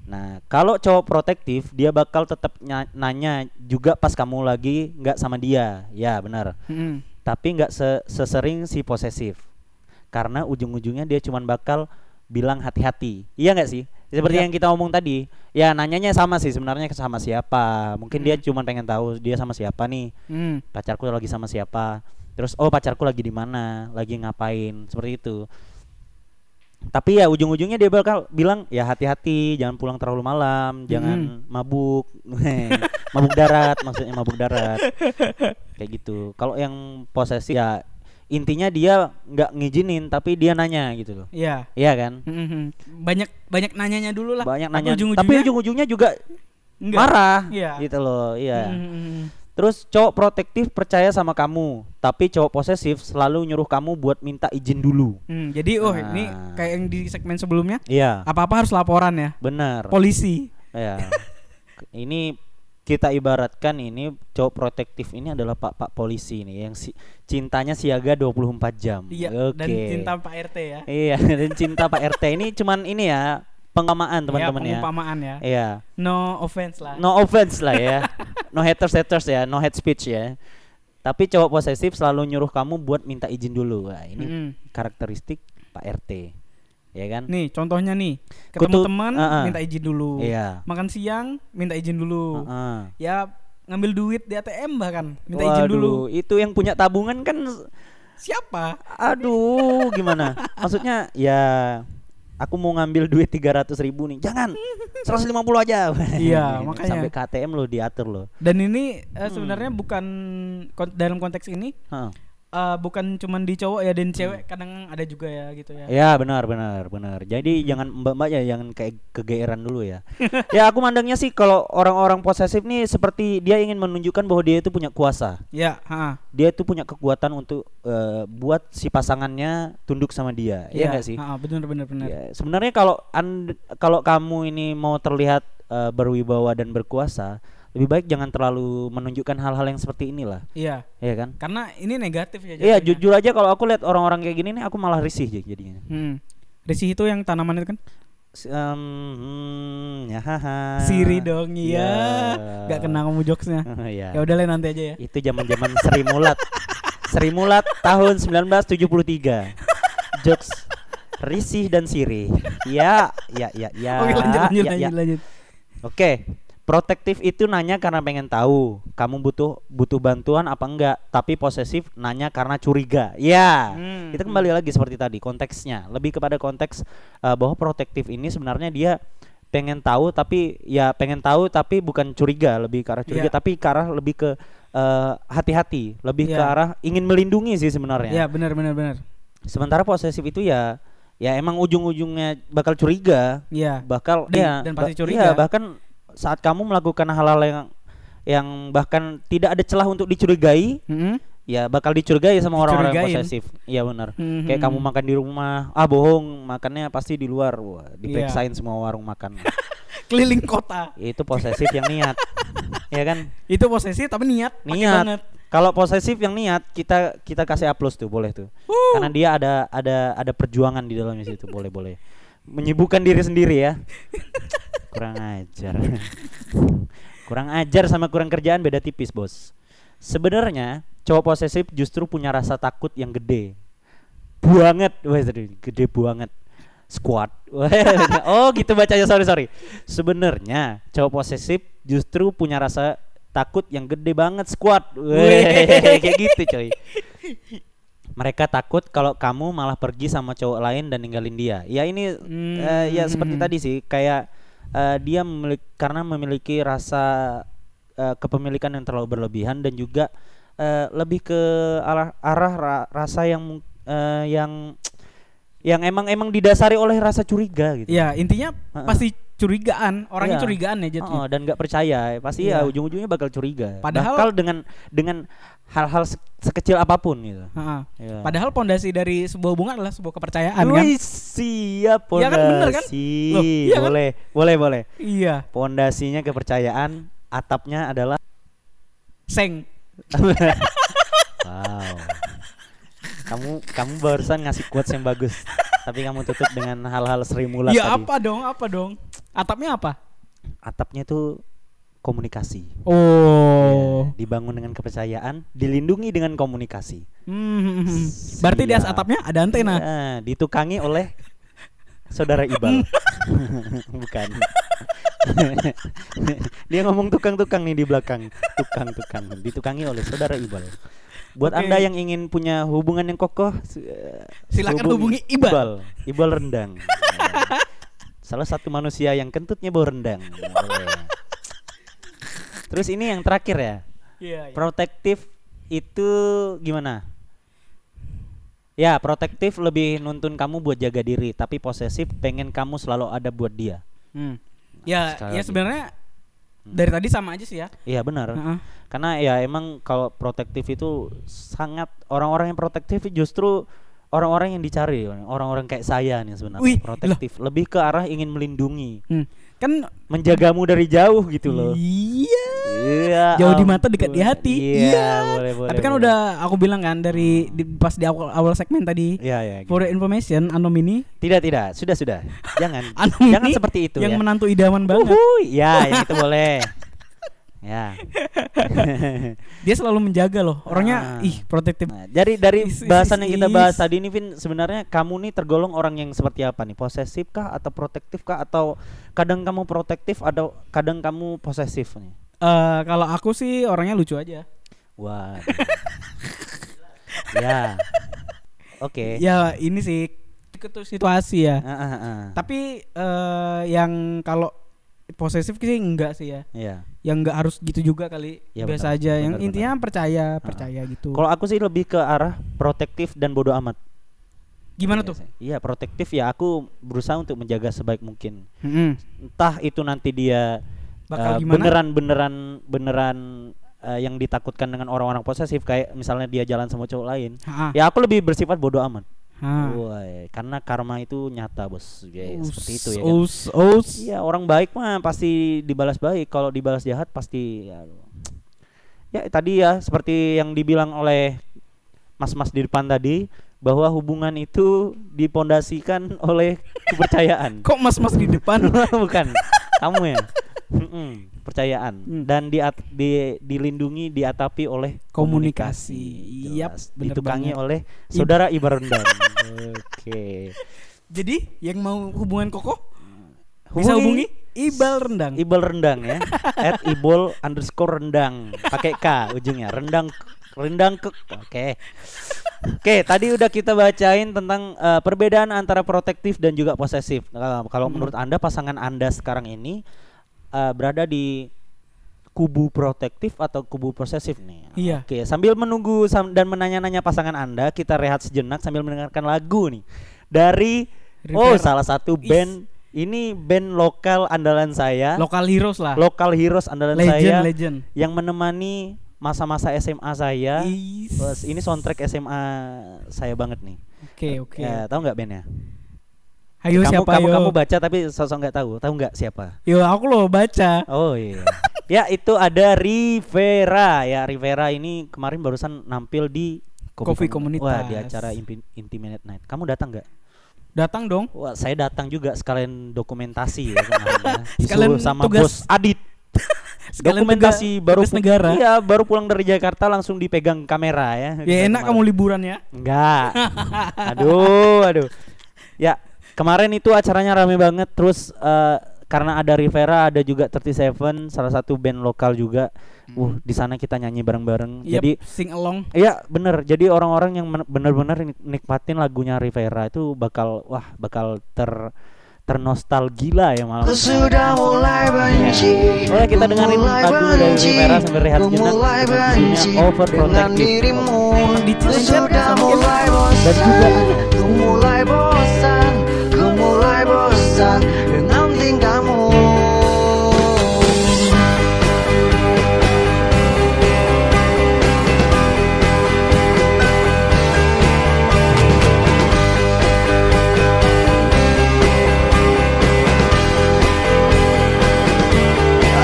Speaker 1: nah kalau cowok protektif dia bakal tetap nya- nanya juga pas kamu lagi nggak sama dia. Ya benar.
Speaker 2: Mm-mm.
Speaker 1: Tapi nggak se- sesering si posesif. Karena ujung-ujungnya dia cuman bakal bilang hati-hati. Iya nggak sih? Seperti
Speaker 2: Iya.
Speaker 1: yang kita omong tadi. Ya nanyanya sama sih sebenarnya sama siapa. Mungkin dia
Speaker 2: Mm.
Speaker 1: cuman pengen tahu dia sama siapa nih
Speaker 2: Mm.
Speaker 1: pacarku lagi sama siapa terus oh pacarku lagi di mana lagi ngapain seperti itu tapi ya ujung-ujungnya
Speaker 2: Hmm.
Speaker 1: dia bakal bilang ya hati-hati jangan pulang terlalu malam jangan mabuk mabuk darat maksudnya mabuk darat kayak gitu kalau yang posesif ya intinya dia nggak ngizinin tapi dia nanya gitu loh
Speaker 2: Iya.
Speaker 1: iya kan
Speaker 2: Mhm. Banyak banyak nanyanya dulu lah.
Speaker 1: banyak
Speaker 2: Tapi
Speaker 1: nanya
Speaker 2: ujung-ujungnya
Speaker 1: tapi ujung-ujungnya juga
Speaker 2: enggak.
Speaker 1: marah
Speaker 2: Iya.
Speaker 1: gitu loh iya
Speaker 2: Mhm.
Speaker 1: terus cowok protektif percaya sama kamu tapi cowok posesif selalu nyuruh kamu buat minta izin dulu
Speaker 2: Hmm, jadi oh
Speaker 1: Nah.
Speaker 2: ini kayak yang di segmen sebelumnya
Speaker 1: iya
Speaker 2: apa-apa harus laporan ya.
Speaker 1: benar
Speaker 2: Polisi.
Speaker 1: Ya. ini kita ibaratkan ini cowok protektif ini adalah Pak-pak polisi ini yang si, cintanya siaga 24 jam.
Speaker 2: Iya, dan
Speaker 1: Oke.
Speaker 2: cinta Pak RT ya.
Speaker 1: Iya, dan cinta Pak RT ini cuman ini ya, pengamaan teman-teman
Speaker 2: ya,
Speaker 1: ya.
Speaker 2: pengumpamaan ya.
Speaker 1: Iya.
Speaker 2: No offense lah.
Speaker 1: No offense lah ya. No haters haters ya, no hate speech ya. Tapi cowok posesif selalu nyuruh kamu buat minta izin dulu. Wah, ini
Speaker 2: Mhm.
Speaker 1: karakteristik Pak RT. Ya kan?
Speaker 2: Nih, contohnya nih. Ketemu
Speaker 1: Kutu-
Speaker 2: teman
Speaker 1: Ah, ah.
Speaker 2: minta izin dulu.
Speaker 1: Iya. Ah,
Speaker 2: Makan siang minta izin dulu.
Speaker 1: Heeh.
Speaker 2: Ya ngambil duit di ATM bahkan minta izin dulu.
Speaker 1: Waduh, itu yang punya tabungan kan
Speaker 2: Siapa?
Speaker 1: Aduh, gimana? Maksudnya ya aku mau ngambil duit 300 ribu nih. Jangan. 150 aja. Gitu.
Speaker 2: Iya, makanya.
Speaker 1: Sampai KTM lo diatur lo.
Speaker 2: Dan ini eh,
Speaker 1: Hmm.
Speaker 2: sebenarnya bukan kon- dalam konteks ini
Speaker 1: Heeh.
Speaker 2: eh, bukan cuman di cowok ya
Speaker 1: Hmm.
Speaker 2: dan cewek kadang ada juga ya gitu ya.
Speaker 1: Ya benar benar benar. Jadi jangan mbak-mbak ya jangan kayak kegeeran dulu ya. ya aku mandangnya sih kalau orang-orang posesif nih seperti dia ingin menunjukkan bahwa dia itu punya kuasa.
Speaker 2: Ya, ha.
Speaker 1: Dia itu punya kekuatan untuk eh, buat si pasangannya tunduk sama dia. Iya enggak sih?
Speaker 2: Ha, bener bener ah, bener.
Speaker 1: Ya, sebenarnya kalau and- kalau kamu ini mau terlihat eh, berwibawa dan berkuasa, lebih baik jangan terlalu menunjukkan hal-hal yang seperti inilah,
Speaker 2: Iya,
Speaker 1: ya kan?
Speaker 2: karena ini negatif ya.
Speaker 1: Iya,
Speaker 2: jatuhnya.
Speaker 1: jujur aja kalau aku lihat orang-orang kayak gini nih aku malah risih Jack, jadinya.
Speaker 2: Hmm. Risih itu yang tanaman itu kan?
Speaker 1: S- em, hmm, ya haha.
Speaker 2: Siri dong, iya.
Speaker 1: Iya.
Speaker 2: Gak kena kamu jokesnya.
Speaker 1: Iya.
Speaker 2: Ya udah lah nanti aja ya.
Speaker 1: Itu zaman-zaman Sri Mulat. Sri Mulat tahun 1973. Jokes risih dan sirih. Ya, ya, ya, ya.
Speaker 2: Oke Oh, lanjut lanjut
Speaker 1: ya, ya.
Speaker 2: lanjut lanjut.
Speaker 1: Oke, protektif itu nanya karena pengen tahu. Kamu butuh butuh bantuan apa enggak? Tapi posesif nanya karena curiga. Ya.
Speaker 2: Hmm,
Speaker 1: Kita kembali lagi seperti tadi konteksnya. Lebih kepada konteks eh, bahwa protektif ini sebenarnya dia pengen tahu tapi ya pengen tahu tapi bukan curiga lebih ke arah
Speaker 2: Iya.
Speaker 1: curiga tapi ke arah lebih ke eh, hati-hati lebih ke
Speaker 2: Iya.
Speaker 1: arah ingin melindungi sih sebenarnya
Speaker 2: Ya benar benar benar.
Speaker 1: sementara posesif itu ya ya emang ujung-ujungnya bakal curiga
Speaker 2: Iya.
Speaker 1: bakal
Speaker 2: Dan-
Speaker 1: ya,
Speaker 2: dan
Speaker 1: ba-
Speaker 2: pasti curiga.
Speaker 1: iya, bahkan saat kamu melakukan hal-hal yang yang bahkan tidak ada celah untuk dicurigai
Speaker 2: Mm-mm.
Speaker 1: ya bakal dicurigai sama orang-orang
Speaker 2: Dicurigain.
Speaker 1: yang posesif iya benar
Speaker 2: Mhm.
Speaker 1: kayak kamu makan di rumah ah bohong makannya pasti di luar wah
Speaker 2: Iya.
Speaker 1: diperiksain semua warung makan
Speaker 2: Keliling kota.
Speaker 1: itu posesif yang niat ya kan
Speaker 2: Itu posesif tapi niat. Pakai banget.
Speaker 1: niat kalau posesif yang niat kita kita kasih aplaus tuh boleh tuh karena dia gitu. ada ada ada perjuangan di dalamnya situ boleh boleh menyibukkan diri sendiri ya kurang ajar kurang ajar sama kurang kerjaan beda tipis bos sebenarnya cowok posesif justru punya rasa takut yang gede banget wah serius, gede banget squad oh gitu bacanya sorry sorry sebenarnya cowok posesif justru punya rasa takut yang gede banget squad Weh, kayak gitu coy mereka takut kalau kamu malah pergi sama cowok lain dan ninggalin dia ya ini
Speaker 2: Hmm.
Speaker 1: eh, ya seperti tadi sih kayak eh, dia memiliki, karena memiliki rasa eh, kepemilikan yang terlalu berlebihan dan juga eh, lebih ke arah arah ra- rasa yang mung- eh, yang yang emang emang didasari oleh rasa curiga gitu.
Speaker 2: Ya intinya
Speaker 1: Ha-ha.
Speaker 2: pasti curigaan. Orangnya
Speaker 1: Iya.
Speaker 2: curigaan ya jatuhnya.
Speaker 1: Oh, dan nggak percaya pasti
Speaker 2: Iya.
Speaker 1: ya ujung-ujungnya bakal curiga.
Speaker 2: Padahal-
Speaker 1: Bakal dengan dengan hal-hal se- sekecil apapun gitu.
Speaker 2: Ha-ha.
Speaker 1: Iya.
Speaker 2: Padahal pondasi dari sebuah hubungan adalah sebuah kepercayaan kan?
Speaker 1: Wih, siap
Speaker 2: Iya kan, bener kan?
Speaker 1: pondasi.
Speaker 2: Loh, iya kan?
Speaker 1: boleh, boleh, boleh.
Speaker 2: Iya.
Speaker 1: Pondasinya kepercayaan, atapnya adalah
Speaker 2: Seng.
Speaker 1: Wow. Kamu kamu barusan ngasih quotes yang bagus, tapi kamu tutup dengan hal-hal Sri Mulat
Speaker 2: Ya
Speaker 1: tadi.
Speaker 2: apa dong? Apa dong? Atapnya apa?
Speaker 1: Atapnya itu komunikasi.
Speaker 2: Oh.
Speaker 1: Ya, dibangun dengan kepercayaan, dilindungi dengan komunikasi.
Speaker 2: Hmm. Berarti di atas
Speaker 1: Siap.
Speaker 2: atapnya ada antena. Iya,
Speaker 1: Ya, ditukangi oleh saudara Ibal. Bukan. Dia ngomong tukang-tukang nih di belakang. Tukang-tukang ditukangi oleh saudara Ibal. Buat
Speaker 2: Oke.
Speaker 1: Anda yang ingin punya hubungan yang kokoh, s- eh,
Speaker 2: Silakan hubungi
Speaker 1: hubungi
Speaker 2: Ibal.
Speaker 1: Ibal. Ibal rendang. Salah satu manusia yang kentutnya bau rendang. Boleh. Terus ini yang terakhir ya.
Speaker 2: Iya. iya.
Speaker 1: Protektif itu gimana? Ya, protektif lebih nuntun kamu buat jaga diri, tapi posesif pengen kamu selalu ada buat dia.
Speaker 2: Hmm. Ya,
Speaker 1: Nah,
Speaker 2: ya
Speaker 1: Sekali lagi. Hmm.
Speaker 2: sebenarnya dari tadi sama aja sih ya.
Speaker 1: Iya benar.
Speaker 2: Heeh.
Speaker 1: Karena ya emang kalau protektif itu sangat orang-orang yang protektif justru orang-orang yang dicari, orang-orang kayak saya nih sebenarnya.
Speaker 2: Wih,
Speaker 1: protektif, lebih ke arah ingin melindungi,
Speaker 2: Hmm. Kan
Speaker 1: menjagamu dari jauh gitu loh.
Speaker 2: Iya.
Speaker 1: Iya.
Speaker 2: Jauh di
Speaker 1: ampun.
Speaker 2: mata dekat di hati.
Speaker 1: Iya, boleh, boleh,
Speaker 2: Tapi kan
Speaker 1: boleh. Hmm.
Speaker 2: udah aku bilang kan dari di- pas di awal awal segmen tadi.
Speaker 1: Iya, iya. gitu.
Speaker 2: For your information, Anom ini
Speaker 1: Tidak, tidak. Sudah, sudah. Jangan.
Speaker 2: Anom
Speaker 1: Hmm. jangan
Speaker 2: Anu ini
Speaker 1: seperti itu
Speaker 2: Yang
Speaker 1: ya.
Speaker 2: menantu idaman banget.
Speaker 1: Uhuy, ya, yang itu boleh. Ya.
Speaker 2: Dia selalu menjaga loh. Orangnya
Speaker 1: Ah.
Speaker 2: ih protektif.
Speaker 1: Nah, dari dari
Speaker 2: Is, is,
Speaker 1: bahasan yang
Speaker 2: is,
Speaker 1: kita bahas
Speaker 2: is.
Speaker 1: tadi ini Vin sebenarnya kamu nih tergolong orang yang seperti apa nih? Posesif kah atau protektif kah atau kadang kamu protektif atau kadang kamu posesif nih?
Speaker 2: Eh, kalau aku sih orangnya lucu aja.
Speaker 1: Wah. ya. Oke.
Speaker 2: Ya ini sih itu situasi ya.
Speaker 1: Ah, ah, ah.
Speaker 2: Tapi eh, yang kalau posesif sih enggak sih ya.
Speaker 1: Ya.
Speaker 2: Yang enggak harus gitu juga kali.
Speaker 1: Ya,
Speaker 2: Biasa
Speaker 1: benar,
Speaker 2: aja. yang
Speaker 1: benar, Ah.
Speaker 2: intinya percaya, percaya gitu.
Speaker 1: Kalau aku sih lebih ke arah protektif dan bodoh amat.
Speaker 2: Gimana
Speaker 1: Iya
Speaker 2: tuh?
Speaker 1: sih. Iya, protektif ya aku berusaha untuk menjaga sebaik mungkin.
Speaker 2: Mm-mm.
Speaker 1: Entah itu nanti dia
Speaker 2: Bakal
Speaker 1: eh,
Speaker 2: gimana?
Speaker 1: beneran beneran beneran eh, yang ditakutkan dengan orang-orang posesif kayak misalnya dia jalan sama cowok lain.
Speaker 2: Ha-ha.
Speaker 1: Ya aku lebih bersifat bodoh amat.
Speaker 2: Ha.
Speaker 1: Woy, karena karma itu nyata, Bos. Ya,
Speaker 2: Ah. Us,
Speaker 1: seperti itu ya. Kan?
Speaker 2: Us, us.
Speaker 1: Iya, orang baik mah pasti dibalas baik, kalau dibalas jahat pasti ya Ya, tadi ya seperti yang dibilang oleh mas-mas di depan tadi bahwa hubungan itu dipondasikan oleh kepercayaan.
Speaker 2: Kok kan? mas-mas di depan?
Speaker 1: bukan kamu ya Mm-mm, percayaan
Speaker 2: Hmm.
Speaker 1: dan di, di- dilindungi diatapi oleh
Speaker 2: Komunikasi. Yap,
Speaker 1: Jelas.
Speaker 2: Iya, bener
Speaker 1: ditukangi
Speaker 2: banget.
Speaker 1: oleh
Speaker 2: Ib-
Speaker 1: saudara Ibarendam oke
Speaker 2: Jadi yang mau hubungan kokoh bisa hubungi
Speaker 1: Hubungi
Speaker 2: Ibal Rendang.
Speaker 1: ibol rendang ya at ibol underscore rendang pakai k ujungnya rendang rendang kek oke Oke, tadi udah kita bacain tentang eh, perbedaan antara protektif dan juga posesif. Nah,
Speaker 2: Hmm.
Speaker 1: kalau menurut Anda pasangan Anda sekarang ini eh, berada di kubu protektif atau kubu posesif nih.
Speaker 2: Iya.
Speaker 1: Oke, sambil menunggu sam- dan menanya-nanya pasangan Anda, kita rehat sejenak sambil mendengarkan lagu nih dari oh
Speaker 2: River
Speaker 1: salah satu
Speaker 2: Is.
Speaker 1: band ini band lokal andalan saya.
Speaker 2: Lokal heroes lah.
Speaker 1: lokal heroes andalan
Speaker 2: legend,
Speaker 1: saya
Speaker 2: legend.
Speaker 1: yang menemani masa-masa SMA saya.
Speaker 2: Is.
Speaker 1: Ya. Bos, ini soundtrack SMA saya banget nih.
Speaker 2: Oke, oke.
Speaker 1: Ya, tahu nggak bandnya?
Speaker 2: Hayo
Speaker 1: kamu
Speaker 2: siapa
Speaker 1: kamu,
Speaker 2: yo?
Speaker 1: kamu baca tapi sosok nggak tahu. Tahu nggak siapa?
Speaker 2: Yo, aku loh baca.
Speaker 1: Oh iya. ya itu ada Rivera ya Rivera ini kemarin barusan nampil di
Speaker 2: Kopi
Speaker 1: Komun-
Speaker 2: Komunitas.
Speaker 1: Wah di acara Impi- Intimate Night. Kamu datang nggak?
Speaker 2: Datang dong.
Speaker 1: Wah saya datang juga sekalian dokumentasi ya kemarin ya.
Speaker 2: Sekalian
Speaker 1: Disuruh sama
Speaker 2: tugas-
Speaker 1: bos Adit.
Speaker 2: Sekalian
Speaker 1: dokumentasi
Speaker 2: tugas-
Speaker 1: baru
Speaker 2: tugas
Speaker 1: pu-
Speaker 2: negara.
Speaker 1: Iya baru pulang dari Jakarta langsung dipegang kamera ya.
Speaker 2: Ya enak
Speaker 1: Kemarin.
Speaker 2: kamu liburan ya.
Speaker 1: Enggak. aduh, aduh. Ya, kemarin itu acaranya rame banget terus eh, karena ada Rivera, ada juga 37, salah satu band lokal juga. Uh, di sana kita nyanyi bareng-bareng.
Speaker 2: Yap,
Speaker 1: Jadi
Speaker 2: sing along.
Speaker 1: Iya bener Jadi orang-orang yang men- bener-bener nik- nikmatin lagunya Rivera itu bakal wah bakal ter ternostalgila ya malam.
Speaker 4: Ku sudah mulai benci
Speaker 1: Boleh kita
Speaker 4: Ku
Speaker 1: dengerin
Speaker 4: mulai
Speaker 1: lagu dari
Speaker 4: benci,
Speaker 1: Rivera sambil rehat
Speaker 4: ku
Speaker 1: sejenak.
Speaker 4: mulai
Speaker 1: Judulnya
Speaker 4: benci
Speaker 1: Overprotective.
Speaker 4: Dengan dirimu Ku
Speaker 2: Dicincin
Speaker 4: sudah
Speaker 2: sama
Speaker 4: mulai
Speaker 1: Dan
Speaker 4: bosan
Speaker 1: juga-
Speaker 4: Ku mulai bosan Ku mulai bosan Dengan tingkahmu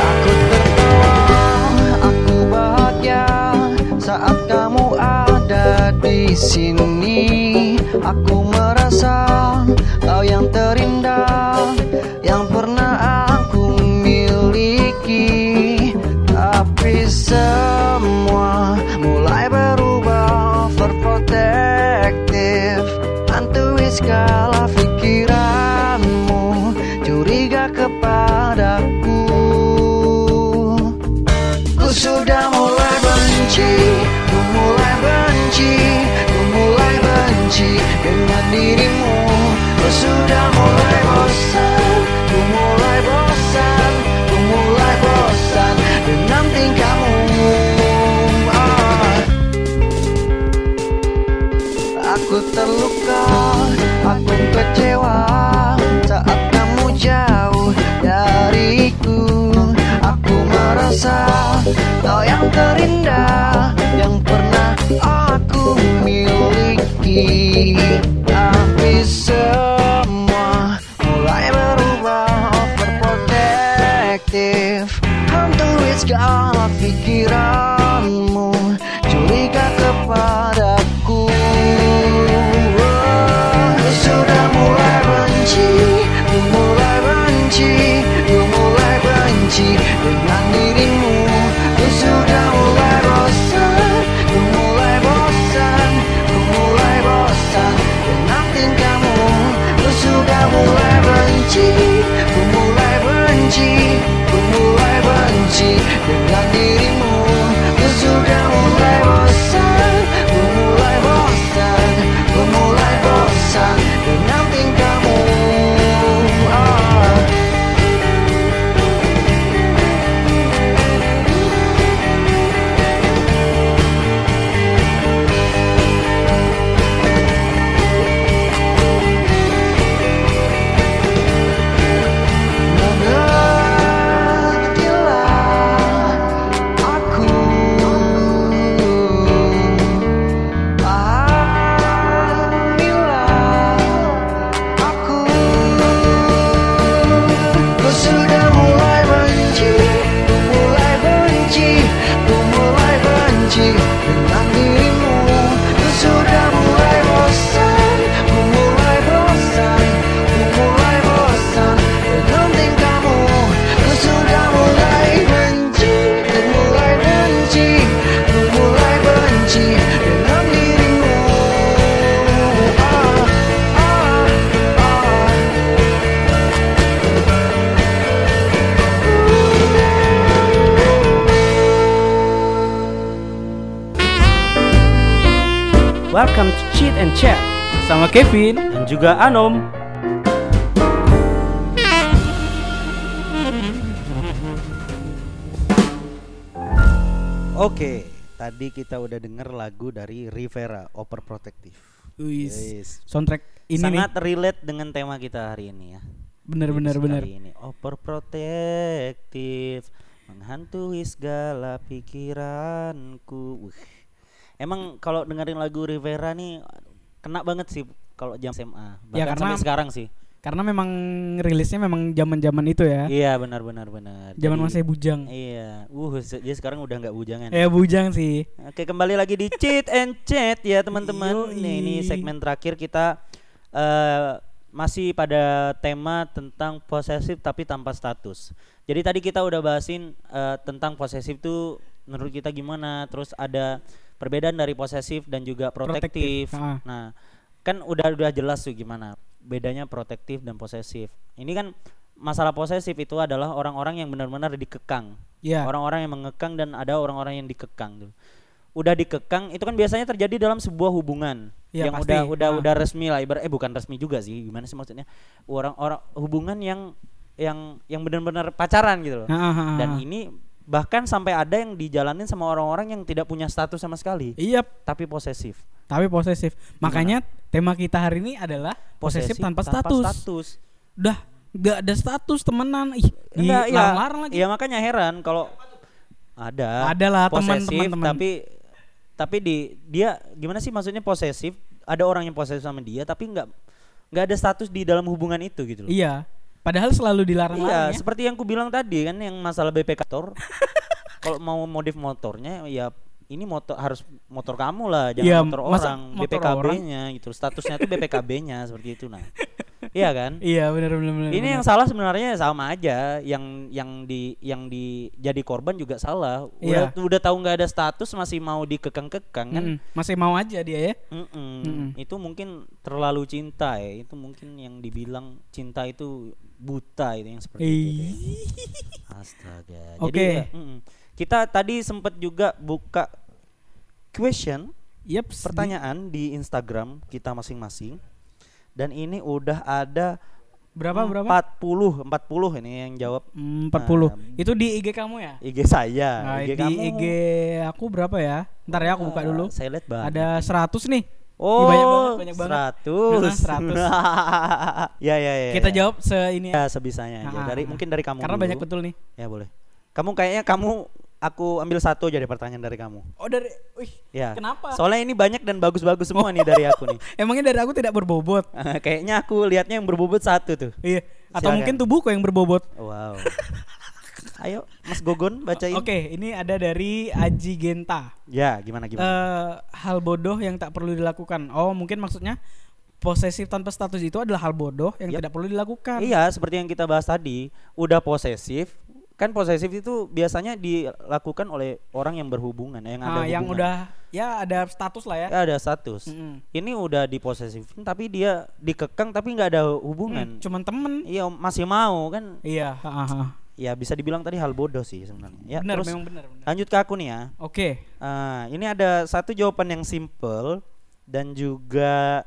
Speaker 4: Aku tertawa, aku bahagia saat kamu ada di sini. Aku merasa kau yang terindah yang pernah aku miliki. Tapi semua mulai berubah overprotective Hantui segala pikiranmu Curiga kepadaku Ku sudah mulai benci Ku mulai benci Ku mulai benci Dengan dirimu Ku sudah mulai bosan Ku mulai bosan Ku mulai bosan Dengan Ah. dirimu terindah yang pernah aku miliki Tapi semua mulai berubah overprotective Hantui segala pikiranmu Curiga kepadaku Oh, Sudah mulai benci Ku mulai benci Ku mulai benci Dengan dirimu Ku sudah mulai bosan Ku mulai bosan Ku mulai bosan Dengan tingkahmu Ku sudah mulai benci Ku mulai benci Ku mulai benci Dengan dirimu Ku sudah mulai bosan Ku mulai bosan Ku mulai bosan Dengan tingkahmu Ah. Mengertilah aku Pahamilah aku Ku sudah mulai benci Ku mulai benci Ku mulai benci Dengan dirimu Ku sudah mulai bosan Ku mulai bosan Ku mulai bosan Dengan tingkahmu Ku sudah mulai benci Ku mulai benci Ku mulai benci Dengan dirimu Ah, ah, ah
Speaker 1: Welcome to Cheat and Chat
Speaker 2: sama Kevin.
Speaker 1: dan juga Anom. Oke, tadi kita udah denger lagu dari Rivera, Overprotective.
Speaker 2: Wis.
Speaker 1: Yes.
Speaker 2: Soundtrack ini nih.
Speaker 1: Sangat relate dengan tema kita hari ini ya.
Speaker 2: bener bener
Speaker 1: Sekali
Speaker 2: bener.
Speaker 1: Ini overprotective menghantui segala pikiranku. Wih. Emang kalau dengerin lagu Rivera nih kena banget sih kalau jam SMA. Bahkan
Speaker 2: Ya, karena-
Speaker 1: sampai sekarang sih.
Speaker 2: Karena memang rilisnya memang zaman-zaman itu ya.
Speaker 1: Iya benar benar benar.
Speaker 2: Zaman
Speaker 1: Jadi-
Speaker 2: masih bujang.
Speaker 1: Iya. Uh, se- jadi sekarang udah nggak bujangan.
Speaker 2: Ya bujang sih.
Speaker 1: Oke, kembali lagi di Cheat and Chat ya,
Speaker 2: Yoi.
Speaker 1: teman-teman. Nih, ini segmen terakhir kita eh masih pada tema tentang posesif tapi tanpa status. Jadi tadi kita udah bahasin eh, tentang posesif tuh menurut kita gimana, terus ada perbedaan dari posesif dan juga protektif.
Speaker 2: Protektif, ah.
Speaker 1: Nah, kan udah udah jelas tuh gimana bedanya protektif dan posesif. Ini kan masalah posesif itu adalah orang-orang yang benar-benar dikekang
Speaker 2: Ya.
Speaker 1: orang-orang yang mengekang dan ada orang-orang yang dikekang tuh. Udah dikekang itu kan biasanya terjadi dalam sebuah hubungan
Speaker 2: Iya,
Speaker 1: yang
Speaker 2: pasti.
Speaker 1: udah udah
Speaker 2: Ah.
Speaker 1: udah resmi lah ibarat eh bukan resmi juga sih gimana sih maksudnya orang-orang hubungan yang yang yang benar-benar pacaran gitu loh.
Speaker 2: Ha, ha, ha, ha.
Speaker 1: Dan ini bahkan sampai ada yang dijalanin sama orang-orang yang tidak punya status sama sekali
Speaker 2: Iya,
Speaker 1: tapi posesif.
Speaker 2: tapi posesif. Makanya tema kita hari ini adalah posesif, tanpa, status. Udah nggak ada status temenan. Ih,
Speaker 1: Enggak, iya.
Speaker 2: dilarang lagi.
Speaker 1: Iya makanya heran kalau ada.
Speaker 2: Ada lah teman,
Speaker 1: posesif,
Speaker 2: teman, teman.
Speaker 1: Tapi tapi di dia gimana sih maksudnya posesif? Ada orang yang posesif sama dia tapi nggak nggak ada status di dalam hubungan itu gitu loh.
Speaker 2: Iya. Padahal selalu dilarang ya.
Speaker 1: Iya, seperti yang ku bilang tadi kan yang masalah BPK motor. kalau mau modif motornya ya ini motor harus motor kamu lah, jangan
Speaker 2: Iya,
Speaker 1: motor
Speaker 2: masa
Speaker 1: orang,
Speaker 2: motor
Speaker 1: BPKB-nya gitu. Statusnya tuh BPKB-nya seperti itu nah. Iya kan?
Speaker 2: Iya, benar benar benar.
Speaker 1: Ini
Speaker 2: benar.
Speaker 1: yang salah sebenarnya sama aja, yang yang di yang di jadi korban juga salah. Udah
Speaker 2: Iya.
Speaker 1: udah tahu nggak ada status masih mau dikekang-kekang kan?
Speaker 2: Mm-mm. Hmm, masih mau aja dia ya.
Speaker 1: Mm-mm.
Speaker 2: Mm-mm.
Speaker 1: Itu mungkin terlalu cinta ya. Itu mungkin yang dibilang cinta itu buta itu yang seperti itu. ya.
Speaker 2: Ih.
Speaker 1: Astaga.
Speaker 2: Iya. Oke.
Speaker 1: Jadi ya, mm-mm. kita tadi sempat juga buka question
Speaker 2: Yeps.
Speaker 1: pertanyaan di Instagram kita masing-masing. Dan ini udah ada
Speaker 2: Berapa berapa?
Speaker 1: 40 40 ini yang jawab
Speaker 2: Mm, 40.
Speaker 1: Nah,
Speaker 2: Itu di IG kamu ya?
Speaker 1: IG saya.
Speaker 2: Nah, di
Speaker 1: IG kamu.
Speaker 2: IG aku berapa ya? Ntar ya aku buka
Speaker 1: Ah,
Speaker 2: dulu.
Speaker 1: Saya lihat banget.
Speaker 2: Ada 100 nih.
Speaker 1: Oh,
Speaker 2: banyak banget, banyak banget. Nah,
Speaker 1: 100. 100. ya, ya, ya.
Speaker 2: Kita
Speaker 1: ya.
Speaker 2: jawab se ini.
Speaker 1: ya sebisanya aja.
Speaker 2: Ah, ah.
Speaker 1: Dari mungkin dari kamu.
Speaker 2: Karena
Speaker 1: dulu.
Speaker 2: banyak betul nih.
Speaker 1: Ya, boleh. Kamu kayaknya kamu aku ambil satu jadi pertanyaan dari kamu.
Speaker 2: Oh dari, wih,
Speaker 1: Ya.
Speaker 2: Kenapa?
Speaker 1: Soalnya ini banyak dan bagus-bagus semua nih dari aku nih.
Speaker 2: emangnya dari aku tidak berbobot?
Speaker 1: Kayaknya aku lihatnya yang berbobot satu tuh.
Speaker 2: Iya. Atau
Speaker 1: Silakan.
Speaker 2: mungkin tubuhku yang berbobot?
Speaker 1: Wow. Ayo, Mas Gogon bacain.
Speaker 2: Oke, ini ada dari Aji Genta.
Speaker 1: Ya, gimana
Speaker 2: Eh
Speaker 1: gimana?
Speaker 2: hal bodoh yang tak perlu dilakukan. Oh, mungkin maksudnya posesif tanpa status itu adalah hal bodoh yang
Speaker 1: Yap.
Speaker 2: tidak perlu dilakukan.
Speaker 1: iya, seperti yang kita bahas tadi, udah posesif. Kan posesif itu biasanya dilakukan oleh orang yang berhubungan, yang ada
Speaker 2: Ah, yang
Speaker 1: hubungan.
Speaker 2: udah ya ada status lah ya.
Speaker 1: Ya, ada status.
Speaker 2: Mm-mm.
Speaker 1: Ini udah diposesifin tapi dia dikekang tapi nggak ada hubungan.
Speaker 2: Mm, Cuman temen.
Speaker 1: Iya, masih mau kan?
Speaker 2: Iya. ha, ha, ha.
Speaker 1: Ya bisa dibilang tadi hal bodoh sih sebenarnya. Ya,
Speaker 2: benar,
Speaker 1: terus
Speaker 2: memang benar. benar.
Speaker 1: lanjut ke aku nih ya.
Speaker 2: Oke.
Speaker 1: Ah, ini ada satu jawaban yang simple dan juga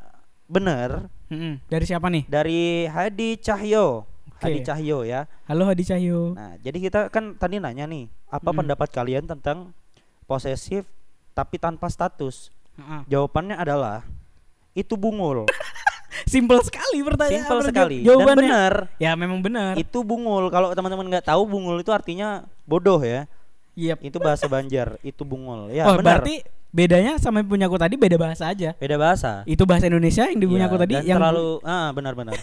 Speaker 1: benar
Speaker 2: Mm-mm. Dari siapa nih?
Speaker 1: dari Hadi Cahyo.
Speaker 2: Oke.
Speaker 1: Hadi Cahyo ya.
Speaker 2: Halo Hadi Cahyo.
Speaker 1: Nah, jadi kita kan tadi nanya nih, apa
Speaker 2: Mm.
Speaker 1: pendapat kalian tentang posesif tapi tanpa status?
Speaker 2: Ha, ha.
Speaker 1: Jawabannya adalah itu bungul.
Speaker 2: Simple sekali pertanyaan.
Speaker 1: Simple
Speaker 2: berja-
Speaker 1: sekali dan
Speaker 2: Jawabannya.
Speaker 1: benar.
Speaker 2: Ya memang benar.
Speaker 1: Itu bungul. Kalau teman-teman nggak tahu bungul itu artinya bodoh ya.
Speaker 2: Yep.
Speaker 1: Itu bahasa Banjar, itu bungul. Ya,
Speaker 2: oh,
Speaker 1: benar.
Speaker 2: berarti bedanya sama yang punya aku tadi beda bahasa aja.
Speaker 1: Beda bahasa.
Speaker 2: Itu bahasa Indonesia yang Iya, di punya
Speaker 1: Iya,
Speaker 2: aku tadi
Speaker 1: dan
Speaker 2: yang
Speaker 1: terlalu ah benar-benar.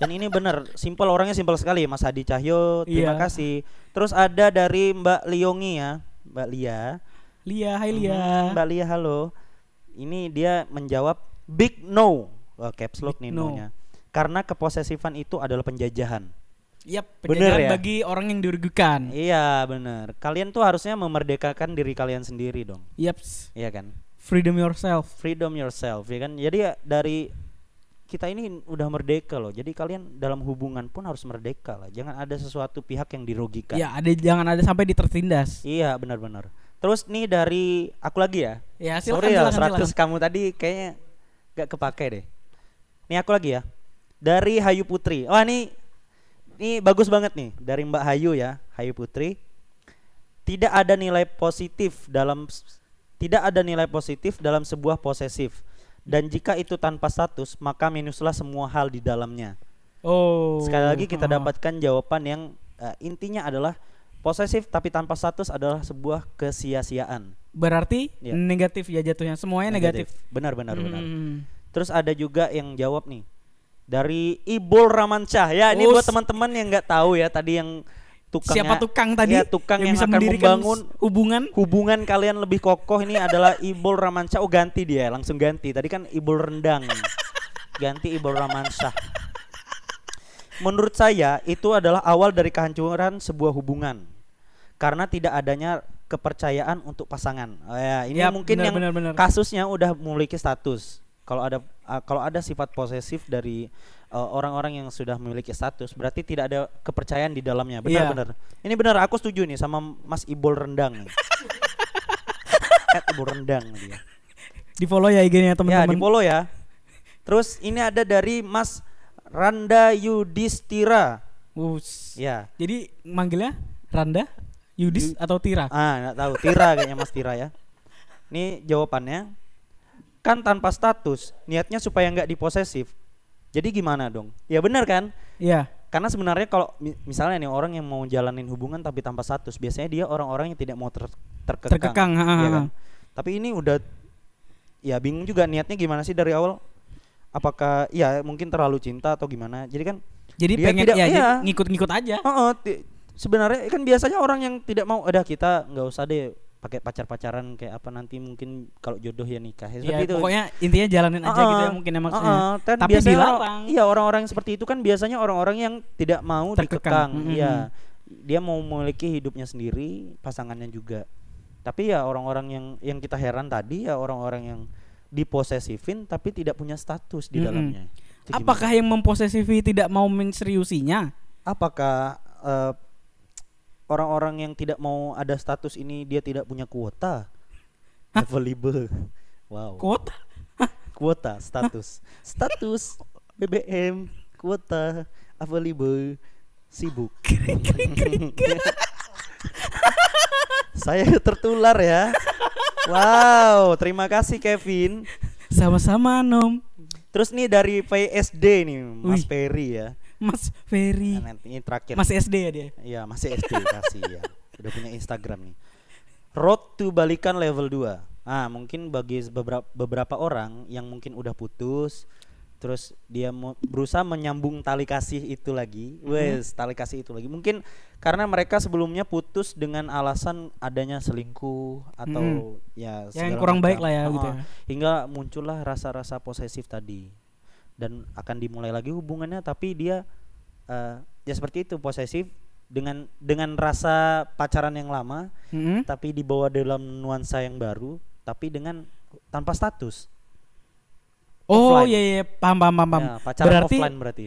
Speaker 1: dan ini benar, simpel orangnya simpel sekali Mas Hadi Cahyo, terima
Speaker 2: Iya.
Speaker 1: kasih. Terus ada dari Mbak Liongi ya, Mbak Lia.
Speaker 2: Lia, hai Lia.
Speaker 1: Mhm, Mbak Lia halo. Ini dia menjawab big no. Wah, caps lock nih
Speaker 2: Big no.
Speaker 1: no-nya. Karena keposesifan itu adalah penjajahan.
Speaker 2: Yap,
Speaker 1: Bener
Speaker 2: penjajahan
Speaker 1: ya?
Speaker 2: bagi orang yang dirugikan.
Speaker 1: Iya, benar. Kalian tuh harusnya memerdekakan diri kalian sendiri dong.
Speaker 2: Yaps,
Speaker 1: Iya kan?
Speaker 2: freedom yourself.
Speaker 1: freedom yourself ya kan jadi ya, dari kita ini udah merdeka loh jadi kalian dalam hubungan pun harus merdeka lah jangan ada sesuatu pihak yang dirugikan
Speaker 2: Ya, ada jangan ada sampai ditertindas.
Speaker 1: iya benar-benar terus nih dari aku lagi ya
Speaker 2: Ya, silakan
Speaker 1: sorry ya
Speaker 2: silakan,
Speaker 1: 100
Speaker 2: silakan.
Speaker 1: kamu tadi kayaknya gak kepake deh nih aku lagi ya dari Hayu Putri wah nih ini bagus banget nih dari Mbak Hayu ya Hayu Putri tidak ada nilai positif dalam tidak ada nilai positif dalam sebuah posesif dan jika itu tanpa status maka minuslah semua hal di dalamnya
Speaker 2: Oh.
Speaker 1: sekali lagi kita
Speaker 2: ah.
Speaker 1: dapatkan jawaban yang eh, intinya adalah posesif tapi tanpa status adalah sebuah kesia-siaan
Speaker 2: Berarti
Speaker 1: Ya.
Speaker 2: negatif ya jatuhnya. Semuanya negatif.
Speaker 1: benar benar benar
Speaker 2: Hmm.
Speaker 1: terus ada juga yang jawab nih dari Ibul Ramansyah ya ini
Speaker 2: Oh,
Speaker 1: buat
Speaker 2: s-
Speaker 1: teman-teman yang nggak tahu ya tadi yang tukang
Speaker 2: Siapa tukang tadi?
Speaker 1: ya, tukang yang, akan
Speaker 2: mendirikan
Speaker 1: membangun
Speaker 2: s- hubungan.
Speaker 1: hubungan kalian lebih kokoh ini adalah Ibul Ramansyah. Oh ganti dia, langsung ganti. Tadi kan Ibul Rendang. Ganti Ibul Ramansyah. Menurut saya itu adalah awal dari kehancuran sebuah hubungan. Karena tidak adanya kepercayaan untuk pasangan. Oh ya, ini
Speaker 2: Yap,
Speaker 1: mungkin
Speaker 2: benar,
Speaker 1: yang
Speaker 2: benar, benar.
Speaker 1: kasusnya udah memiliki status. Kalau ada ah, kalau ada sifat posesif dari eh, orang-orang yang sudah memiliki status, berarti tidak ada kepercayaan di dalamnya. Benar,
Speaker 2: Iya.
Speaker 1: benar. Ini benar, aku setuju nih sama Mas Ibol Rendang. nih. At Ibol Rendang dia.
Speaker 2: Di follow ya IG-nya
Speaker 1: Ya, di
Speaker 2: teman-teman.
Speaker 1: Polo ya. Terus ini ada dari Mas Randa Yudhistira.
Speaker 2: Wus.
Speaker 1: Ya.
Speaker 2: Jadi manggilnya Randa, Yudis atau Tira?
Speaker 1: Ah, nggak tahu Tira kayaknya Mas Tira ya. Ini jawabannya. Kan tanpa status, niatnya supaya nggak diposesif. Jadi gimana dong? Ya benar kan?
Speaker 2: Iya.
Speaker 1: Karena sebenarnya kalau mi- misalnya nih orang yang mau jalanin hubungan tapi tanpa status, biasanya dia orang-orang yang tidak mau ter- terkekang.
Speaker 2: Terkekang, ha, ha,
Speaker 1: iya
Speaker 2: ha.
Speaker 1: kan? Tapi ini udah ya bingung juga niatnya gimana sih dari awal? Apakah ya mungkin terlalu cinta atau gimana? Jadi kan
Speaker 2: Jadi
Speaker 1: Dia
Speaker 2: pengen
Speaker 1: tidak-
Speaker 2: ya,
Speaker 1: iya. Oh,
Speaker 2: jadi ngikut-ngikut aja.
Speaker 1: Heeh, ti- sebenarnya kan biasanya orang yang tidak mau udah kita nggak usah deh pakai pacar-pacaran kayak apa nanti mungkin kalau jodoh ya nikah. Ya,
Speaker 2: Ya,
Speaker 1: Seperti itu. Ah,
Speaker 2: pokoknya intinya jalanin aja
Speaker 1: Heeh,
Speaker 2: gitu ya mungkin ya maksudnya.
Speaker 1: heeh. Dan
Speaker 2: Tapi
Speaker 1: biasanya orang-
Speaker 2: dilarang.
Speaker 1: Iya, orang-orang yang seperti itu kan biasanya orang-orang yang tidak mau
Speaker 2: Terkekang.
Speaker 1: dikekang.
Speaker 2: Mm-mm.
Speaker 1: Iya. Dia mau memiliki hidupnya sendiri, pasangannya juga. Tapi ya orang-orang yang yang kita heran tadi ya orang-orang yang diposesifin tapi tidak punya status di
Speaker 2: Mm-mm.
Speaker 1: dalamnya. Itu gimana?
Speaker 2: Apakah yang memposesifi tidak mau menseriusinya?
Speaker 1: apakah eh, orang-orang yang tidak mau ada status ini dia tidak punya kuota available wow
Speaker 2: Kuota?
Speaker 1: kuota status status BBM kuota available sibuk saya tertular ya wow terima kasih Kevin
Speaker 2: Sama-sama Nom.
Speaker 1: terus nih dari PSD nih
Speaker 2: Wih.
Speaker 1: Mas Ferry ya
Speaker 2: Mas Ferry.
Speaker 1: Nah, nanti ini terakhir
Speaker 2: Mas SD ya dia.
Speaker 1: Iya masih SD kasih ya. Udah iya. punya Instagram nih. Road to balikan level 2. Ah, mungkin bagi beberapa beberapa orang yang mungkin udah putus terus dia mau berusaha menyambung tali kasih itu lagi. Wes, tali kasih itu lagi. Mungkin karena mereka sebelumnya putus dengan alasan adanya selingkuh atau ya
Speaker 2: Yang
Speaker 1: segala
Speaker 2: kurang
Speaker 1: macam.
Speaker 2: baik lah ya, gitu
Speaker 1: Ah,
Speaker 2: ya.
Speaker 1: Hingga muncullah rasa-rasa posesif tadi. Dan akan dimulai lagi hubungannya tapi dia eh, ya seperti itu posesif dengan dengan rasa pacaran yang lama
Speaker 2: Mm-mm.
Speaker 1: tapi dibawa dalam nuansa yang baru tapi dengan tanpa status
Speaker 2: Oh
Speaker 1: Offline.
Speaker 2: iya iya paham paham paham. paham.
Speaker 1: ya, pacaran
Speaker 2: berarti
Speaker 1: offline berarti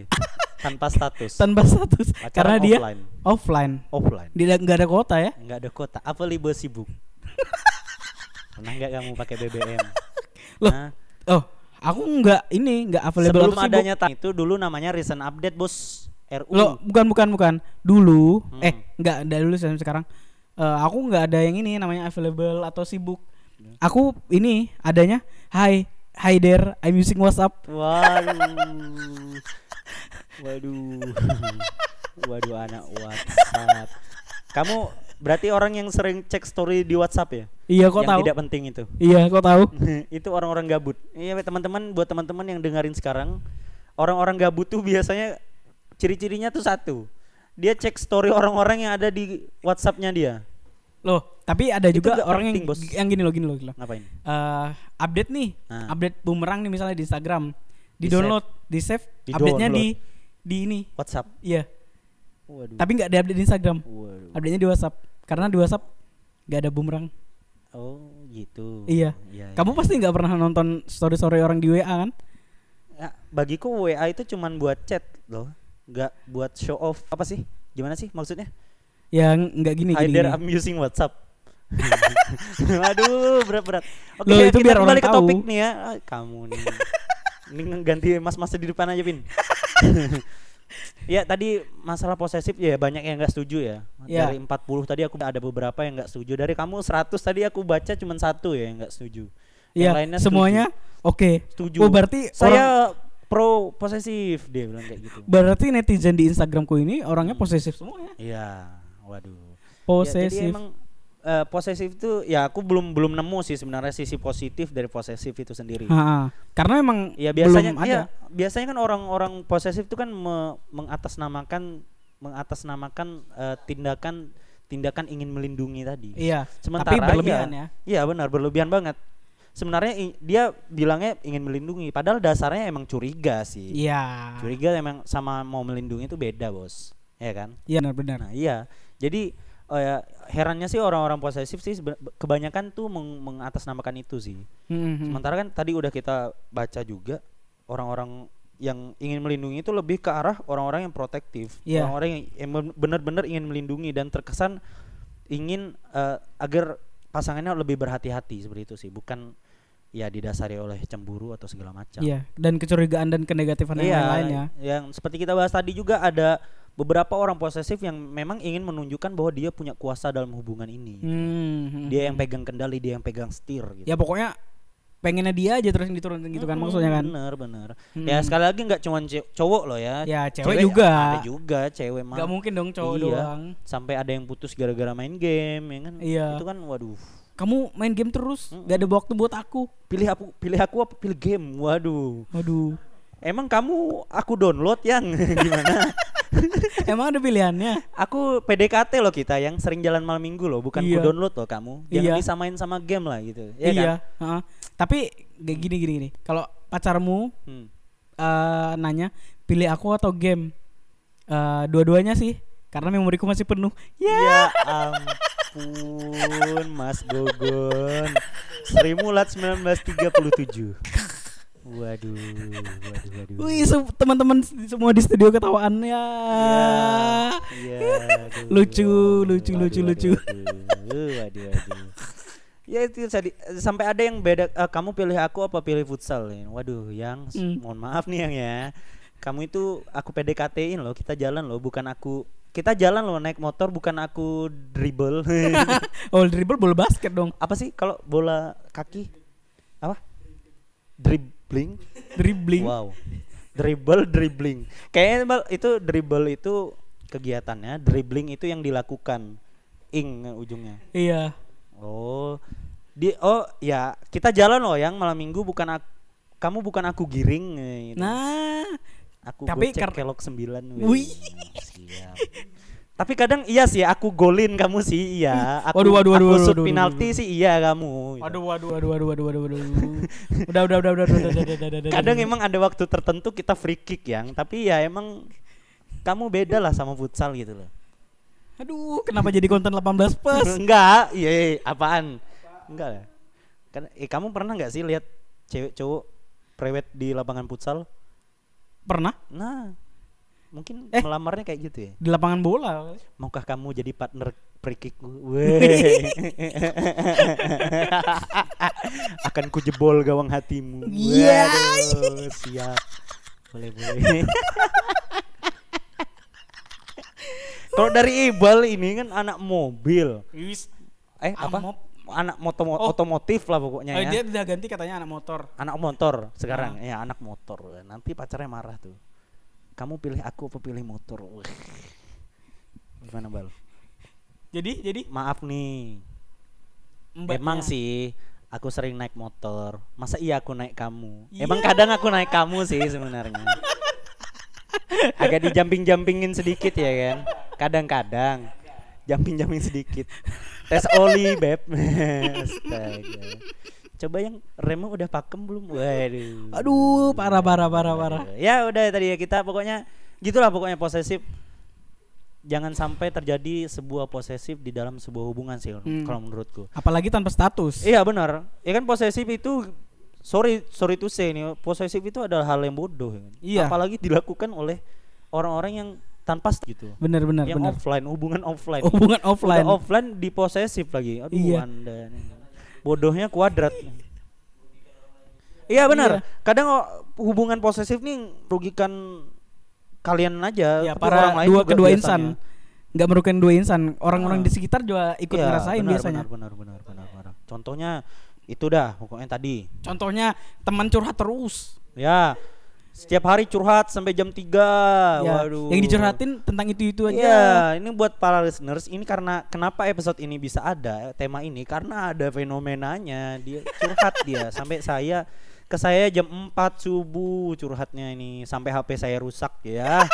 Speaker 1: tanpa status
Speaker 2: tanpa status
Speaker 1: Pacaran
Speaker 2: karena dia
Speaker 1: offline.
Speaker 2: offline.
Speaker 1: offline
Speaker 2: Tidak nggak ada kuota ya.
Speaker 1: nggak ada kota apa libur sibuk pernah nggak kamu pakai BBM
Speaker 2: Loh,
Speaker 1: Hah?
Speaker 2: Oh, aku nggak ini nggak available
Speaker 1: Nah. sebelum
Speaker 2: atau sibuk.
Speaker 1: adanya ta- itu dulu namanya recent update bos RU
Speaker 2: Loh, bukan bukan bukan. Dulu
Speaker 1: Hmm.
Speaker 2: eh nggak ada dulu sampai sekarang. Eh, aku nggak ada yang ini namanya available atau sibuk.
Speaker 1: Ya.
Speaker 2: Aku ini adanya hi hi there I'm using WhatsApp.
Speaker 1: waduh waduh waduh anak WhatsApp kamu berarti orang yang sering cek story di WhatsApp ya
Speaker 2: Iya kok
Speaker 1: yang
Speaker 2: tahu.
Speaker 1: tidak penting itu
Speaker 2: Iya kok tahu.
Speaker 1: itu orang-orang gabut. Iya teman-teman, buat teman-teman yang dengerin sekarang, orang-orang gabut tuh biasanya ciri-cirinya tuh satu. Dia cek story orang-orang yang ada di WhatsAppnya dia.
Speaker 2: Loh, tapi ada
Speaker 1: Itu
Speaker 2: juga
Speaker 1: nggak
Speaker 2: orang yang
Speaker 1: penting, Bos.
Speaker 2: yang gini loh gini loh gini loh.
Speaker 1: Ngapain?
Speaker 2: Eh, update nih,
Speaker 1: Ah.
Speaker 2: update bumerang nih misalnya di Instagram, di,
Speaker 1: Di-save.
Speaker 2: download, di save,
Speaker 1: Di
Speaker 2: update-nya di
Speaker 1: download.
Speaker 2: di ini,
Speaker 1: WhatsApp.
Speaker 2: iya.
Speaker 1: Waduh.
Speaker 2: Tapi nggak di update di Instagram,
Speaker 1: Waduh.
Speaker 2: update-nya di WhatsApp, karena di WhatsApp nggak ada bumerang.
Speaker 1: Oh, gitu.
Speaker 2: Iya. Kamu pasti nggak pernah nonton story story orang di WA kan?
Speaker 1: Ya, bagiku WA itu cuman buat chat loh. Nggak buat show off. Apa sih? Gimana sih maksudnya?
Speaker 2: Yang nggak gini gini.
Speaker 1: Either
Speaker 2: gini.
Speaker 1: I'm using WhatsApp. Aduh, berat-berat. Oke,
Speaker 2: Loh, itu
Speaker 1: kita
Speaker 2: biar
Speaker 1: kembali
Speaker 2: orang
Speaker 1: ke
Speaker 2: tahu.
Speaker 1: topik nih ya. Ah, Kamu nih. Ini ganti mas-mas di depan aja, Pin. ya, tadi masalah posesif ya banyak yang nggak setuju ya.
Speaker 2: Ya.
Speaker 1: Dari 40 tadi aku ada beberapa yang nggak setuju. Dari kamu 100 tadi aku baca cuman satu ya yang nggak setuju. Yang
Speaker 2: Iya,
Speaker 1: lainnya setuju.
Speaker 2: semuanya oke.
Speaker 1: setuju.
Speaker 2: Oh, berarti orang-
Speaker 1: saya pro posesif dia bilang kayak gitu.
Speaker 2: berarti netizen di Instagramku ini orangnya posesif semuanya.
Speaker 1: Iya, waduh. Ya, Hmm. jadi
Speaker 2: Posesif.
Speaker 1: emang eh, posesif itu ya aku belum belum nemu sih sebenarnya sisi positif dari posesif itu sendiri.
Speaker 2: Ha-ha. Karena emang
Speaker 1: Ya biasanya
Speaker 2: belum ada.
Speaker 1: ya, biasanya kan orang-orang posesif itu kan me- mengatasnamakan mengatasnamakan eh, tindakan tindakan ingin melindungi tadi.
Speaker 2: Iya.
Speaker 1: Sementara
Speaker 2: tapi berlebihan ya.
Speaker 1: Iya benar berlebihan banget. Sebenarnya i- dia bilangnya ingin melindungi padahal dasarnya emang curiga sih.
Speaker 2: Iya.
Speaker 1: Curiga emang sama mau melindungi itu beda, Bos. Ya kan?
Speaker 2: Iya benar-benar.
Speaker 1: Nah, iya. Jadi oh ya, herannya sih orang-orang posesif sih sebe- kebanyakan tuh meng- mengatasnamakan itu sih.
Speaker 2: Mm, mm.
Speaker 1: Sementara kan tadi udah kita baca juga orang-orang yang ingin melindungi itu lebih ke arah orang-orang yang protektif,
Speaker 2: Iya.
Speaker 1: orang-orang yang em- benar-benar ingin melindungi dan terkesan ingin eh, agar pasangannya lebih berhati-hati seperti itu sih, bukan ya didasari oleh cemburu atau segala macam.
Speaker 2: Iya. Dan kecurigaan dan kenegatifan
Speaker 1: Iya.
Speaker 2: yang lain ya.
Speaker 1: Yang seperti kita bahas tadi juga ada beberapa orang posesif yang memang ingin menunjukkan bahwa dia punya kuasa dalam hubungan ini.
Speaker 2: Hmm.
Speaker 1: Dia yang pegang kendali, dia yang pegang setir gitu. Hmm,
Speaker 2: Ya pokoknya pengennya dia aja terus yang diturunin gitu kan maksudnya kan.
Speaker 1: Bener, bener.
Speaker 2: Hmm.
Speaker 1: Ya sekali lagi nggak cuma cowok loh ya.
Speaker 2: Ya, cewek juga.
Speaker 1: Ada juga cewek mah.
Speaker 2: Gak mungkin dong cowok
Speaker 1: Iya.
Speaker 2: doang.
Speaker 1: Sampai ada yang putus gara-gara main game ya kan.
Speaker 2: Iya.
Speaker 1: Itu kan waduh.
Speaker 2: Kamu main game terus,
Speaker 1: Hmm.
Speaker 2: gak ada waktu buat aku.
Speaker 1: Pilih aku, pilih aku apa pilih game? Waduh.
Speaker 2: Waduh.
Speaker 1: Emang kamu aku download yang gimana?
Speaker 2: Emang ada pilihannya?
Speaker 1: Aku PDKT loh kita yang sering jalan malam minggu loh, bukan
Speaker 2: Iya.
Speaker 1: ku download loh kamu. Jangan
Speaker 2: Iya.
Speaker 1: disamain sama game lah gitu. Iya.
Speaker 2: iya.
Speaker 1: Kan?
Speaker 2: heeh. Tapi gak gini gini gini. Kalau pacarmu
Speaker 1: Hmm.
Speaker 2: eh, nanya pilih aku atau game, Eh, dua-duanya sih. Karena memoriku masih penuh. Ya.
Speaker 1: Ya ampun, Mas Gogon. Sri Mulat 1937. Waduh, waduh, waduh.
Speaker 2: Wih, se- teman-teman s- semua di studio ketawaan ya.
Speaker 1: Iya, aduh,
Speaker 2: Lucu,
Speaker 1: waduh,
Speaker 2: lucu,
Speaker 1: waduh,
Speaker 2: lucu,
Speaker 1: waduh,
Speaker 2: lucu.
Speaker 1: Waduh, waduh, waduh. Uh, Ya itu tadi eh, sampai ada yang beda eh, kamu pilih aku apa pilih futsal ya? Waduh, yang s-
Speaker 2: Hmm.
Speaker 1: mohon maaf nih yang ya. Kamu itu aku PDKT-in loh, kita jalan loh, bukan aku kita jalan loh naik motor bukan aku dribble.
Speaker 2: Oh, dribble bola basket dong.
Speaker 1: apa sih kalau bola kaki? Apa? Dribbling?
Speaker 2: Dribbling.
Speaker 1: Wow. Dribble dribbling. Kayaknya Bal, itu dribble itu kegiatannya, dribbling itu yang dilakukan ing ujungnya.
Speaker 2: Iya.
Speaker 1: Oh, di oh ya kita jalan loh yang malam minggu bukan aku, kamu bukan aku giring. eh, gitu.
Speaker 2: Nah,
Speaker 1: aku
Speaker 2: tapi
Speaker 1: gocek
Speaker 2: kar-
Speaker 1: kelok sembilan.
Speaker 2: Wih.
Speaker 1: weh. Nah, siap. Tapi kadang iya sih aku golin kamu sih iya. Aku,
Speaker 2: Waduh, waduh, waduh,
Speaker 1: aku
Speaker 2: waduh,
Speaker 1: shoot
Speaker 2: waduh,
Speaker 1: penalti
Speaker 2: waduh.
Speaker 1: sih iya kamu. gitu.
Speaker 2: waduh waduh waduh waduh waduh waduh waduh. Udah udah udah udah udah udah udah, udah, udah, udah.
Speaker 1: Kadang emang ada waktu tertentu kita free kick yang, tapi ya emang kamu beda lah sama futsal gitu loh.
Speaker 2: Aduh, kenapa jadi konten 18 plus?
Speaker 1: enggak, iya, iya, apaan? Enggak lah. Kan, eh, kamu pernah nggak sih lihat cewek cowok prewed di lapangan futsal?
Speaker 2: Pernah
Speaker 1: Nah, mungkin
Speaker 2: Eh.
Speaker 1: melamarnya kayak gitu ya.
Speaker 2: di lapangan bola.
Speaker 1: Maukah kamu jadi partner free kickku? Weh. Akan ku jebol gawang hatimu.
Speaker 2: Iya.
Speaker 1: Waduh, siap. Boleh, boleh. Kalau dari Ibal ini kan anak mobil.
Speaker 2: Wis.
Speaker 1: Eh, apa?
Speaker 2: Amop.
Speaker 1: Anak moto
Speaker 2: Oh.
Speaker 1: otomotif lah pokoknya
Speaker 2: Eh,
Speaker 1: ya.
Speaker 2: dia udah ganti katanya anak motor.
Speaker 1: Anak motor sekarang. Ya, anak motor. Nanti pacarnya marah tuh. Kamu pilih aku apa pilih motor? Wih. Gimana, Bal?
Speaker 2: Jadi jadi
Speaker 1: maaf nih
Speaker 2: mbaknya-
Speaker 1: emang sih aku sering naik motor masa iya aku naik kamu emang
Speaker 2: Iya.
Speaker 1: kadang aku naik kamu sih sebenarnya agak dijamping-jampingin sedikit ya kan kadang-kadang jamping-jamping sedikit tes oli beb Astaga. coba yang remnya udah pakem belum waduh
Speaker 2: Aduh, parah parah parah parah.
Speaker 1: Ya udah tadi ya kita pokoknya gitulah pokoknya posesif. Jangan sampai terjadi sebuah posesif di dalam sebuah hubungan sih
Speaker 2: Hmm.
Speaker 1: kalau menurutku.
Speaker 2: Apalagi tanpa status.
Speaker 1: Iya benar. Ya kan posesif itu sorry sorry to say nih, posesif itu adalah hal yang bodoh. ya kan.
Speaker 2: Iya.
Speaker 1: Apalagi dilakukan oleh orang-orang yang tanpa s- gitu.
Speaker 2: Bener bener
Speaker 1: yang
Speaker 2: bener.
Speaker 1: offline, hubungan offline.
Speaker 2: Hubungan Oh, offline.
Speaker 1: Udah offline diposesif lagi. Aduh,
Speaker 2: Iya.
Speaker 1: Anda ini. Bodohnya kuadrat. iya benar. Kadang o- hubungan posesif nih merugikan kalian aja,
Speaker 2: ya
Speaker 1: tapi
Speaker 2: para
Speaker 1: orang lain
Speaker 2: dua
Speaker 1: juga
Speaker 2: kedua
Speaker 1: biasanya.
Speaker 2: insan. Nggak merugikan dua insan. Orang-orang
Speaker 1: Ah.
Speaker 2: di sekitar juga ikut
Speaker 1: Iya,
Speaker 2: ngerasain
Speaker 1: benar,
Speaker 2: biasanya.
Speaker 1: Benar, benar, benar, benar. Contohnya itu dah pokoknya tadi.
Speaker 2: Contohnya teman curhat terus.
Speaker 1: Ya. Setiap hari curhat sampai jam 3.
Speaker 2: Ya,
Speaker 1: Ah, Waduh.
Speaker 2: Yang dicurhatin tentang itu-itu aja.
Speaker 1: Iya, ini buat para listeners, ini karena kenapa episode ini bisa ada eh, tema ini karena ada fenomenanya. Dia curhat dia sampai saya ke saya jam 4 subuh curhatnya ini sampai HP saya rusak ya.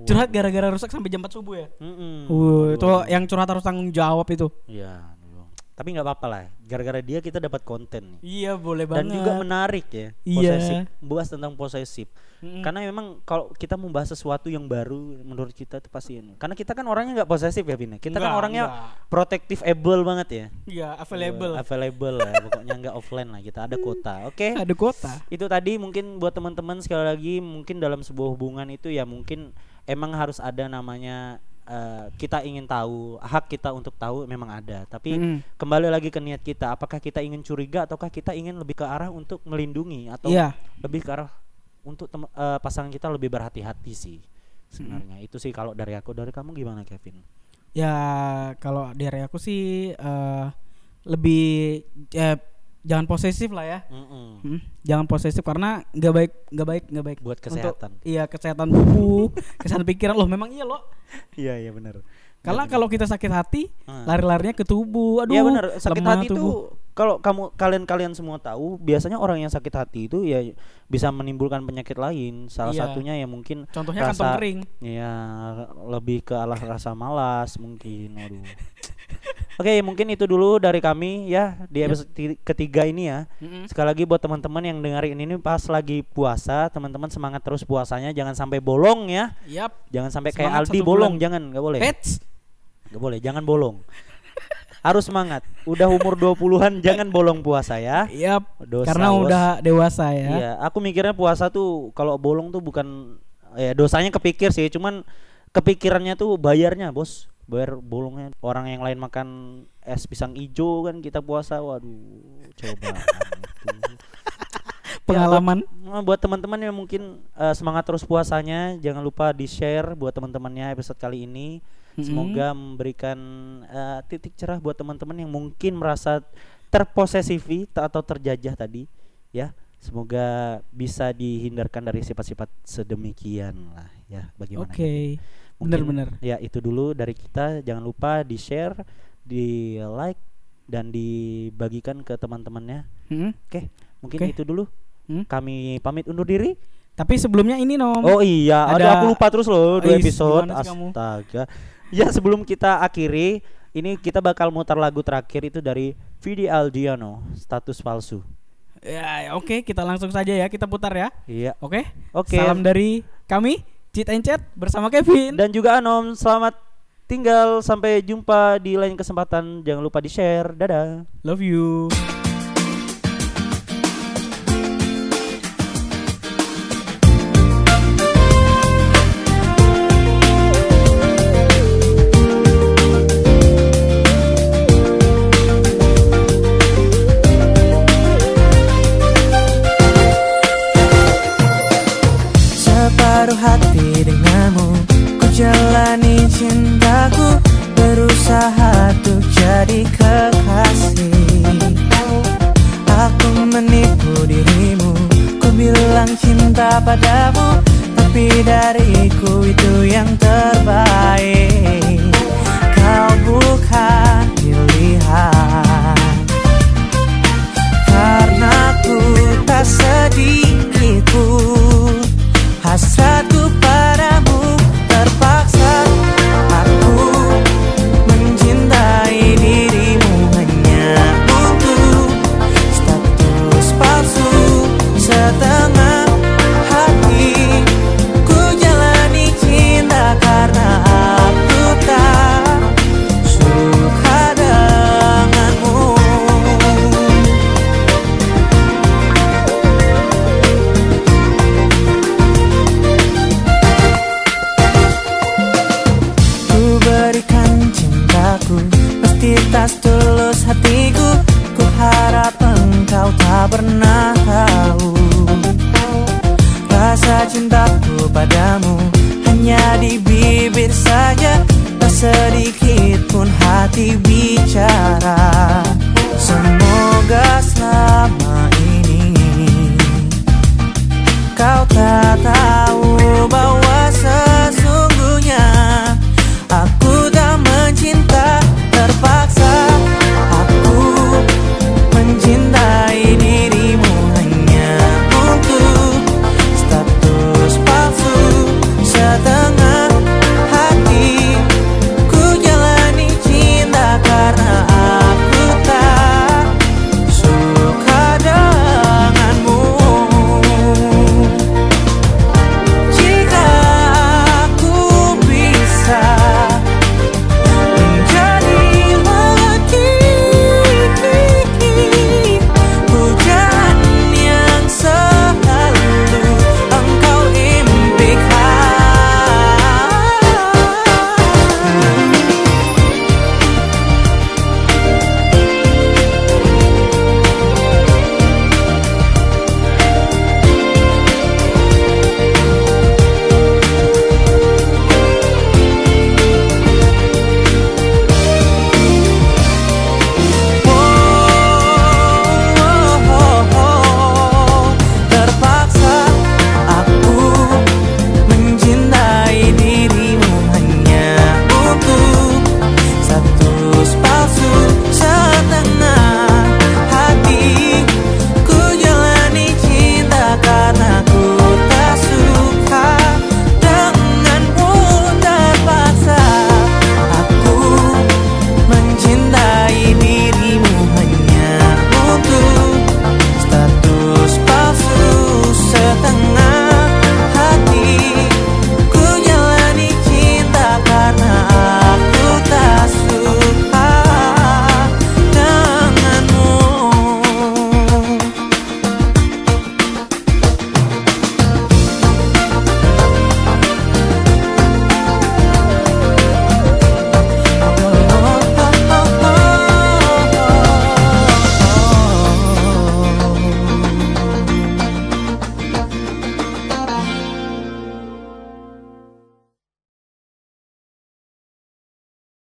Speaker 2: Curhat gara-gara rusak sampai jam 4 subuh ya.
Speaker 1: Mm-mm.
Speaker 2: Wuh, itu
Speaker 1: Hmm. Waduh.
Speaker 2: yang curhat harus tanggung jawab itu.
Speaker 1: Iya, aduh. tapi nggak apa-apa lah. Gara-gara dia kita dapat konten nih.
Speaker 2: Iya, boleh
Speaker 1: Dan
Speaker 2: banget.
Speaker 1: juga menarik ya,
Speaker 2: Iya.
Speaker 1: posesif, membahas tentang posesif.
Speaker 2: Mm-mm.
Speaker 1: Karena memang kalau kita membahas sesuatu yang baru menurut kita itu pasti ini. Karena kita kan orangnya nggak posesif ya Bina. Kita kan
Speaker 2: Nggak,
Speaker 1: orangnya
Speaker 2: nggak.
Speaker 1: protective able banget ya.
Speaker 2: Iya, available.
Speaker 1: Available lah, pokoknya nggak offline lah kita ada kuota. Oke.
Speaker 2: Ada kota.
Speaker 1: Itu tadi mungkin buat teman-teman sekali lagi mungkin dalam sebuah hubungan itu ya mungkin emang harus ada namanya eh, kita ingin tahu, hak kita untuk tahu memang ada. Tapi
Speaker 2: Mm.
Speaker 1: kembali lagi ke niat kita, apakah kita ingin curiga ataukah kita ingin lebih ke arah untuk melindungi atau
Speaker 2: Iya.
Speaker 1: lebih ke arah untuk tem- eh, pasangan kita lebih berhati-hati sih sebenarnya itu sih kalau dari aku dari kamu gimana Kevin
Speaker 2: Ya, kalau dari aku sih eh, lebih eh, jangan posesif lah ya.
Speaker 1: Mm-mm.
Speaker 2: Hmm, jangan posesif karena nggak baik, nggak baik, nggak baik.
Speaker 1: buat
Speaker 2: Untuk-
Speaker 1: kesehatan
Speaker 2: iya, kesehatan tubuh, kesehatan pikiran loh. Memang iya loh.
Speaker 1: iya iya benar
Speaker 2: Karena kalau kita sakit hati,
Speaker 1: Ah.
Speaker 2: lari-larinya ke tubuh. Aduh,
Speaker 1: Iya benar, sakit
Speaker 2: lemah
Speaker 1: hati itu
Speaker 2: tubuh.
Speaker 1: kalau kamu kalian-kalian semua tahu, biasanya orang yang sakit hati itu ya bisa menimbulkan penyakit lain. Salah
Speaker 2: Iya.
Speaker 1: satunya ya mungkin
Speaker 2: Contohnya kantong
Speaker 1: rasa-
Speaker 2: kering.
Speaker 1: Iya, lebih ke alah rasa malas mungkin. Aduh. Oke, mungkin itu dulu dari kami ya di episode ti- ketiga ini ya.
Speaker 2: Iya. Mm-mm.
Speaker 1: Sekali lagi buat teman-teman yang dengerin ini pas lagi puasa, teman-teman semangat terus puasanya, jangan sampai bolong ya.
Speaker 2: Yap.
Speaker 1: Jangan sampai kayak
Speaker 2: Semangat
Speaker 1: Aldi
Speaker 2: satu
Speaker 1: bolong,
Speaker 2: bulan. Eh,
Speaker 1: jangan, nggak boleh.
Speaker 2: Pets.
Speaker 1: Gak boleh, jangan bolong. Harus semangat. Udah umur 20-an jangan bolong puasa ya.
Speaker 2: Yap.
Speaker 1: Dosa,
Speaker 2: Karena
Speaker 1: bos.
Speaker 2: udah dewasa ya.
Speaker 1: Iya, aku mikirnya puasa tuh kalau bolong tuh bukan ya dosanya kepikir sih, cuman kepikirannya tuh bayarnya, Bos. Bayar bolongnya. Orang yang lain makan es pisang ijo kan kita puasa. Waduh, coba.
Speaker 2: Pengalaman.
Speaker 1: Nah, buat teman-teman yang mungkin eh, semangat terus puasanya, jangan lupa di-share buat teman-temannya episode kali ini. Semoga memberikan eh, titik cerah buat teman-teman yang mungkin merasa terposesifi ta- atau terjajah tadi, ya. Semoga bisa dihindarkan dari sifat-sifat sedemikian lah, ya. Bagaimana?
Speaker 2: Oke.
Speaker 1: Kevin? Mungkin-
Speaker 2: Bener-bener.
Speaker 1: Ya itu dulu dari kita. Jangan lupa di share, di like, dan dibagikan ke teman-temannya.
Speaker 2: Mm-mm.
Speaker 1: Oke, mungkin
Speaker 2: Oke.
Speaker 1: itu dulu.
Speaker 2: Hmm.
Speaker 1: Kami pamit undur diri.
Speaker 2: Tapi sebelumnya ini nom.
Speaker 1: Oh iya, ada,
Speaker 2: ada-
Speaker 1: aku lupa terus loh dua
Speaker 2: Ais,
Speaker 1: episode.
Speaker 2: gimana sih kamu?
Speaker 1: Astaga. Ya sebelum kita akhiri, ini kita bakal mutar lagu terakhir itu dari Vidi Aldiano, Status Palsu.
Speaker 2: Ya, Oke, kita langsung saja ya, kita putar ya.
Speaker 1: Iya.
Speaker 2: Oke.
Speaker 1: Oke.
Speaker 2: Salam dari kami Cheat and Chat bersama Kevin.
Speaker 1: Dan juga Anom, selamat tinggal sampai jumpa di lain kesempatan. Jangan lupa di-share. Dadah.
Speaker 2: Love you.
Speaker 3: Separuh hati denganmu Ku jalani cintaku Berusaha untuk jadi kekasih Aku menipu dirimu Ku bilang cinta padamu Tapi dariku itu yang terbaik Kau bukan pilihan karena ku tak sedikit pun hasratku padamu terpaksa aku mencintai dirimu hanya untuk status palsu setengah hati ku jalani cinta karena aku tak suka denganmu. Ku berikan cintaku Pastitas tulus hatiku Ku harap engkau tak pernah tahu Rasa cintaku padamu Hanya di bibir saja Tak sedikit pun hati bicara